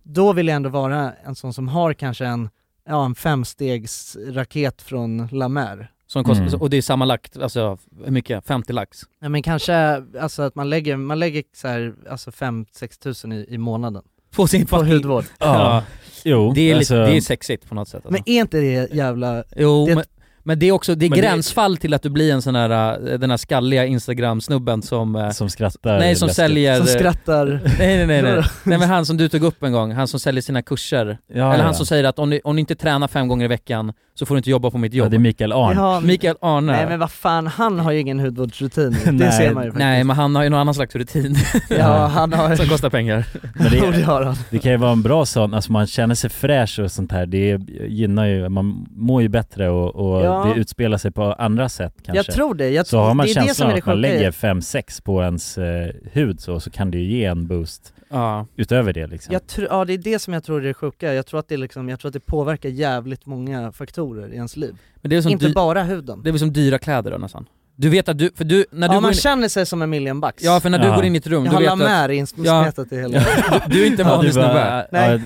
då vill jag ändå vara en sån som har kanske en, ja en femstegsraket från Lamer.
Som kostar,
Mm.
Och det är sammanlagt, alltså hur mycket? 50 lax?
Nej men kanske, alltså att man lägger, man lägger så här, alltså 5-6 tusen i, i månaden.
På sin
På hudvård.
Ja.
Jo,
det, är
alltså-
lite, det är sexigt på något sätt.
Men
Alltså.
är inte det jävla...
jo,
det-
men, men det är också, det är
Men det-
gränsfall till att du blir en sån här, eh, den här skalliga instagram-snubben som... eh,
Som skrattar
Nej, som
läskigt.
säljer...
Som skrattar.
Nej nej nej, nej. nej men han som du tog upp en gång, han som säljer sina kurser.
Ja,
Eller
ja.
han som säger att om ni, om ni inte tränar fem gånger i veckan så får du inte jobba på mitt jobb.
Ja, det är Mikael Arn.
Ja, men-
Mikael Arne.
Nej men vad fan, han har ju ingen hudvårdsrutin. Det
Nej.
ser man ju faktiskt.
Nej men han har ju någon annan slags rutin
Ja, han har-
som kostar pengar.
Men
Jo, det har han.
det kan ju vara en bra sån, alltså man känner sig fräsch och sånt här, det gynnar ju, man mår ju bättre och, och
Ja.
det utspelar sig på andra sätt kanske.
Jag tror det. Jag
så
tror-
har man
det är det som
känslan
är det
att man
sjuka i-
lägger 5-6 på ens eh, hud så, så kan det ju ge en boost
Ja.
utöver det liksom.
Jag tror, ja det är det som jag tror är det sjuka, jag tror, att det är liksom, jag tror att det påverkar jävligt många faktorer i ens liv.
Men det är som
Inte
dy-
bara huden.
Det är väl som dyra kläder då nästan? Du vet att du, för du, när du
ja,
går
man
in,
känner sig som en miljonbacks.
Ja, för när du går in i ett rum,
jag
du
har
vet
la
att-
med i insmetat i hela...
Du, du är inte en vanlig snubbe.
Nej.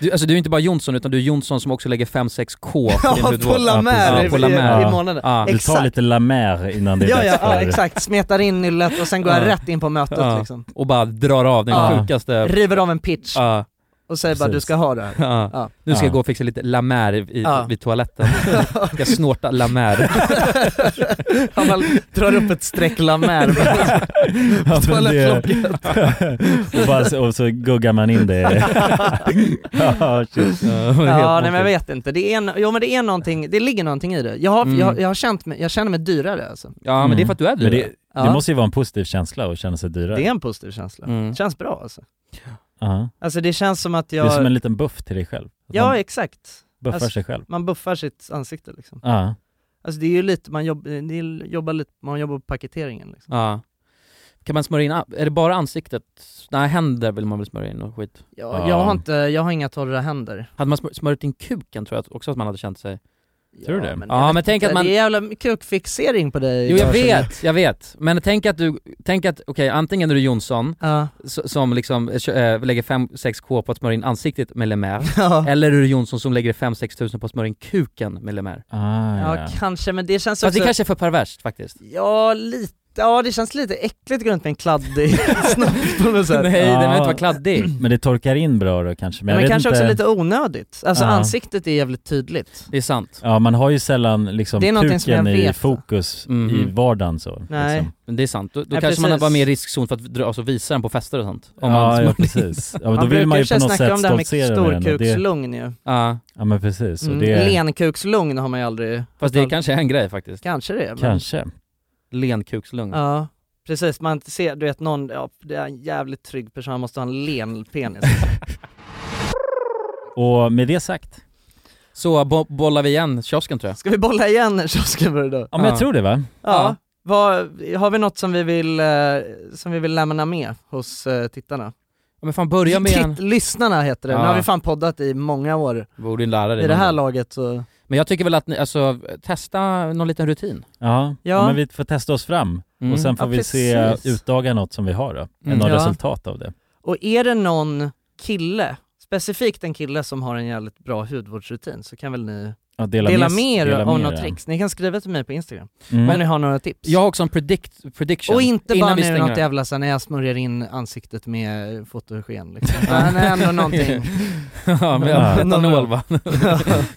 Du, alltså du är inte bara Jonsson utan du är Jonsson som också lägger 5-6 K
Ja,
på din hudvård.
på La Mer i- i- i månaden.
Du tar
Exakt.
lite La Mer innan det är
Ja, ja,
dags för...
ja, exakt. Smetar in nyllet och sen går jag
Ja.
rätt in på mötet
Ja.
liksom.
Och bara drar av den
Ja.
sjukaste...
River av en pitch
Ja.
och säger bara du
Precis.
ska ha det här.
Ja.
Ja.
Nu ska
Ja.
jag gå och fixa lite La Mer i- i,
Ja.
vid toaletten. Jag ska snorta La Mer.
Han bara drar upp ett streck La Mer
Ja,
på
men det-
toalettlocket.
och, bara, så- och så guggar man in det. ja, shit.
Ja, nej men jag vet inte. Det är, en- jo, men det är någonting, det ligger någonting i det. Jag, har,
Mm.
jag, jag, har känt mig, jag känner mig dyrare alltså.
Mm. Men Det, det
Ja.
måste ju vara en positiv känsla att känna sig dyrare.
Det är en positiv känsla. Det känns bra alltså.
Aha.
Alltså det känns som att
Mm. Det
jag...
är som en liten buff till dig själv. Att
Ja alltså-
man-
exakt.
buffar sig själv.
Man buffar sitt ansikte liksom.
Ja.
Alltså det är ju lite, man, jobb, det är, jobbar lite, man jobbar på paketeringen liksom.
Ja. Kan man smörja in, a- är det bara ansiktet? Nej, händer vill man väl smörja in och skit?
Ja, Jag, har inte, jag har inga torra händer.
Hade man smör- smörjt in kuken tror jag också att man hade känt sig...
Tror
du det? ja men tänk att man...
Det är jävla kukfixering på dig.
Jo jag
Lars.
vet, jag vet. Men tänk att du, tänk att, okej antingen är du Jonsson,
Ja.
s- som liksom eh, kö- eh, lägger 5-6k på att smörja in ansiktet med Lemaire,
Ja.
eller är du Jonsson som lägger 5-6 tusen på att smörja in kuken med Lemaire.
Ah,
Ja, kanske, men det känns
Fast det
också...
kanske är för perverst faktiskt.
Ja, lite. Ja, det känns lite äckligt att gå runt med en kladdig snopp på något sätt.
Men det torkar in bra då kanske. Men,
Men,
jag vet
kanske
inte...
också lite onödigt. Alltså
Ja.
ansiktet är jävligt tydligt.
Det är sant.
Ja man har ju sällan liksom
Det är någonting som jag
kuken i
vet.
fokus
Mhm.
i vardagen så.
Nej.
Liksom.
Men Det är sant, då, då
Nej,
kanske man
precis.
var mer i riskzon för att dra, alltså, visa den på fester och sånt.
Ja, ja, precis. Ja, men då Man vill brukar man ju ju på något snacka sätt om det här med stoltsera med den och det-
storkukslugn ju.
Ja.
Ja men precis. Och
Mm.
det är...
Lenkukslugn har man ju aldrig...
Fast det kanske är en grej faktiskt.
Kanske det. Men...
Kanske.
Lenkukslugn.
Ja, precis. Man ser, du vet någon, ja, det är en jävligt trygg person, han måste ha en len penis.
Och med det sagt.
Så bo- bollar vi igen kiosken tror jag.
Ska vi bolla igen kiosken för idag?
Ja men jag tror det va?
Ja. Vad, har vi något som vi vill, eh, som vi vill lämna med hos eh, tittarna?
Ja, men fan börja med en...
Titt, lyssnarna heter det, nu
Ja.
har vi fan poddat i många år.
Borde ju lära dig
I det här
någon gång.
laget så...
Men jag tycker väl att ni, alltså, testa någon liten rutin.
Ja.
Ja.
ja men vi får testa oss fram.
Mm.
Och sen får
Ja,
vi
precis.
se, utdaga något som vi har då.
Mm.
Något
Ja.
resultat av det.
Och är det någon kille, specifikt en kille som har en jävligt bra hudvårdsrutin så kan väl ni
Ja,
dela,
dela med-
med er
dela
av
med
något
er.
tricks? Ni kan skriva till mig på Instagram
Mm.
om ni har några tips.
Jag har också en predict, prediction.
Och inte
innan
bara
vi
nu
stänger
något
här.
jävla så här när jag smörjer in ansiktet med fotogen liksom. Utan ändå någonting.
ja, med
Ja.
etanol va?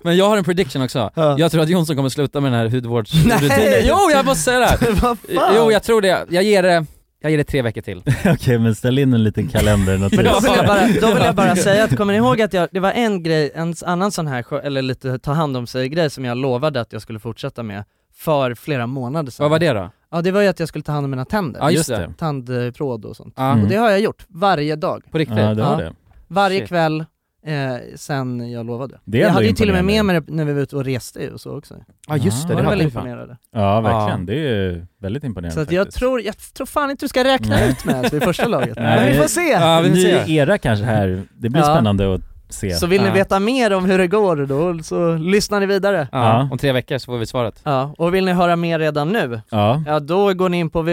men jag har en prediction också.
Ja.
Jag tror att Jonsson kommer sluta med den här hudvårdsrutinen. Jo, jag måste säga det här!
Vad fan?
Jo, jag tror det. Jag ger det, jag ger det tre veckor till.
Okej men ställ in en liten kalender något
Men då vill, jag
tips.
bara, då vill jag bara säga att, kommer ni ihåg att jag, det var en grej, en annan sån här, skö- eller lite ta hand om sig grej som jag lovade att jag skulle fortsätta med för flera månader sedan.
Vad var det då?
Ja det var ju att jag skulle ta hand om mina tänder.
Ja, just det.
Tandpråd och sånt.
Ja.
Och
Mm.
det har jag gjort, varje dag.
På riktigt?
Ja, det har det.
Varje
Shit.
kväll eh, sen jag lovade.
Det är
jag
ändå
hade ju till och med med
imponerande.
mig det när vi var ute och reste och så också.
Ja just det,
Var
det
väl
hade vi
imponerande?
fan.
Ja verkligen, det är ju väldigt imponerande
Så att jag,
faktiskt.
tror, jag tror fan inte du ska räkna
Nej.
ut med att vi är första laget.
Nej,
Men vi
det-
får se!
Ny era kanske här, det blir
Ja.
spännande att se.
Så vill ni veta mer om hur det går då så lyssnar ni vidare.
Ja, om tre veckor så får vi svaret.
Ja, och vill ni höra mer redan nu?
Ja.
Ja, då går ni in på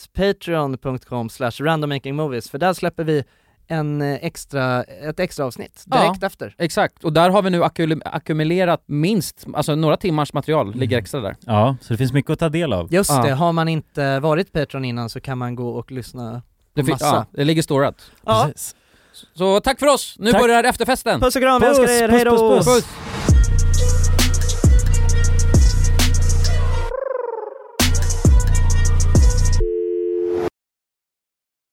www.patreon.com randommakingmovies för där släpper vi en eh, extra, ett extra avsnitt direkt
Ja,
efter.
Exakt, och där har vi nu ackum- ackumulerat minst, alltså några timmars material ligger extra där.
Ja, så det finns mycket att ta del av.
Just
Ja.
det, har man inte varit Patreon innan så kan man gå och lyssna på
Det, fin-
massa.
ja, det ligger storat.
Ja.
Så tack för oss, nu
Tack.
börjar efterfesten!
Puss och kram, jag älskar er, hej då!
puss.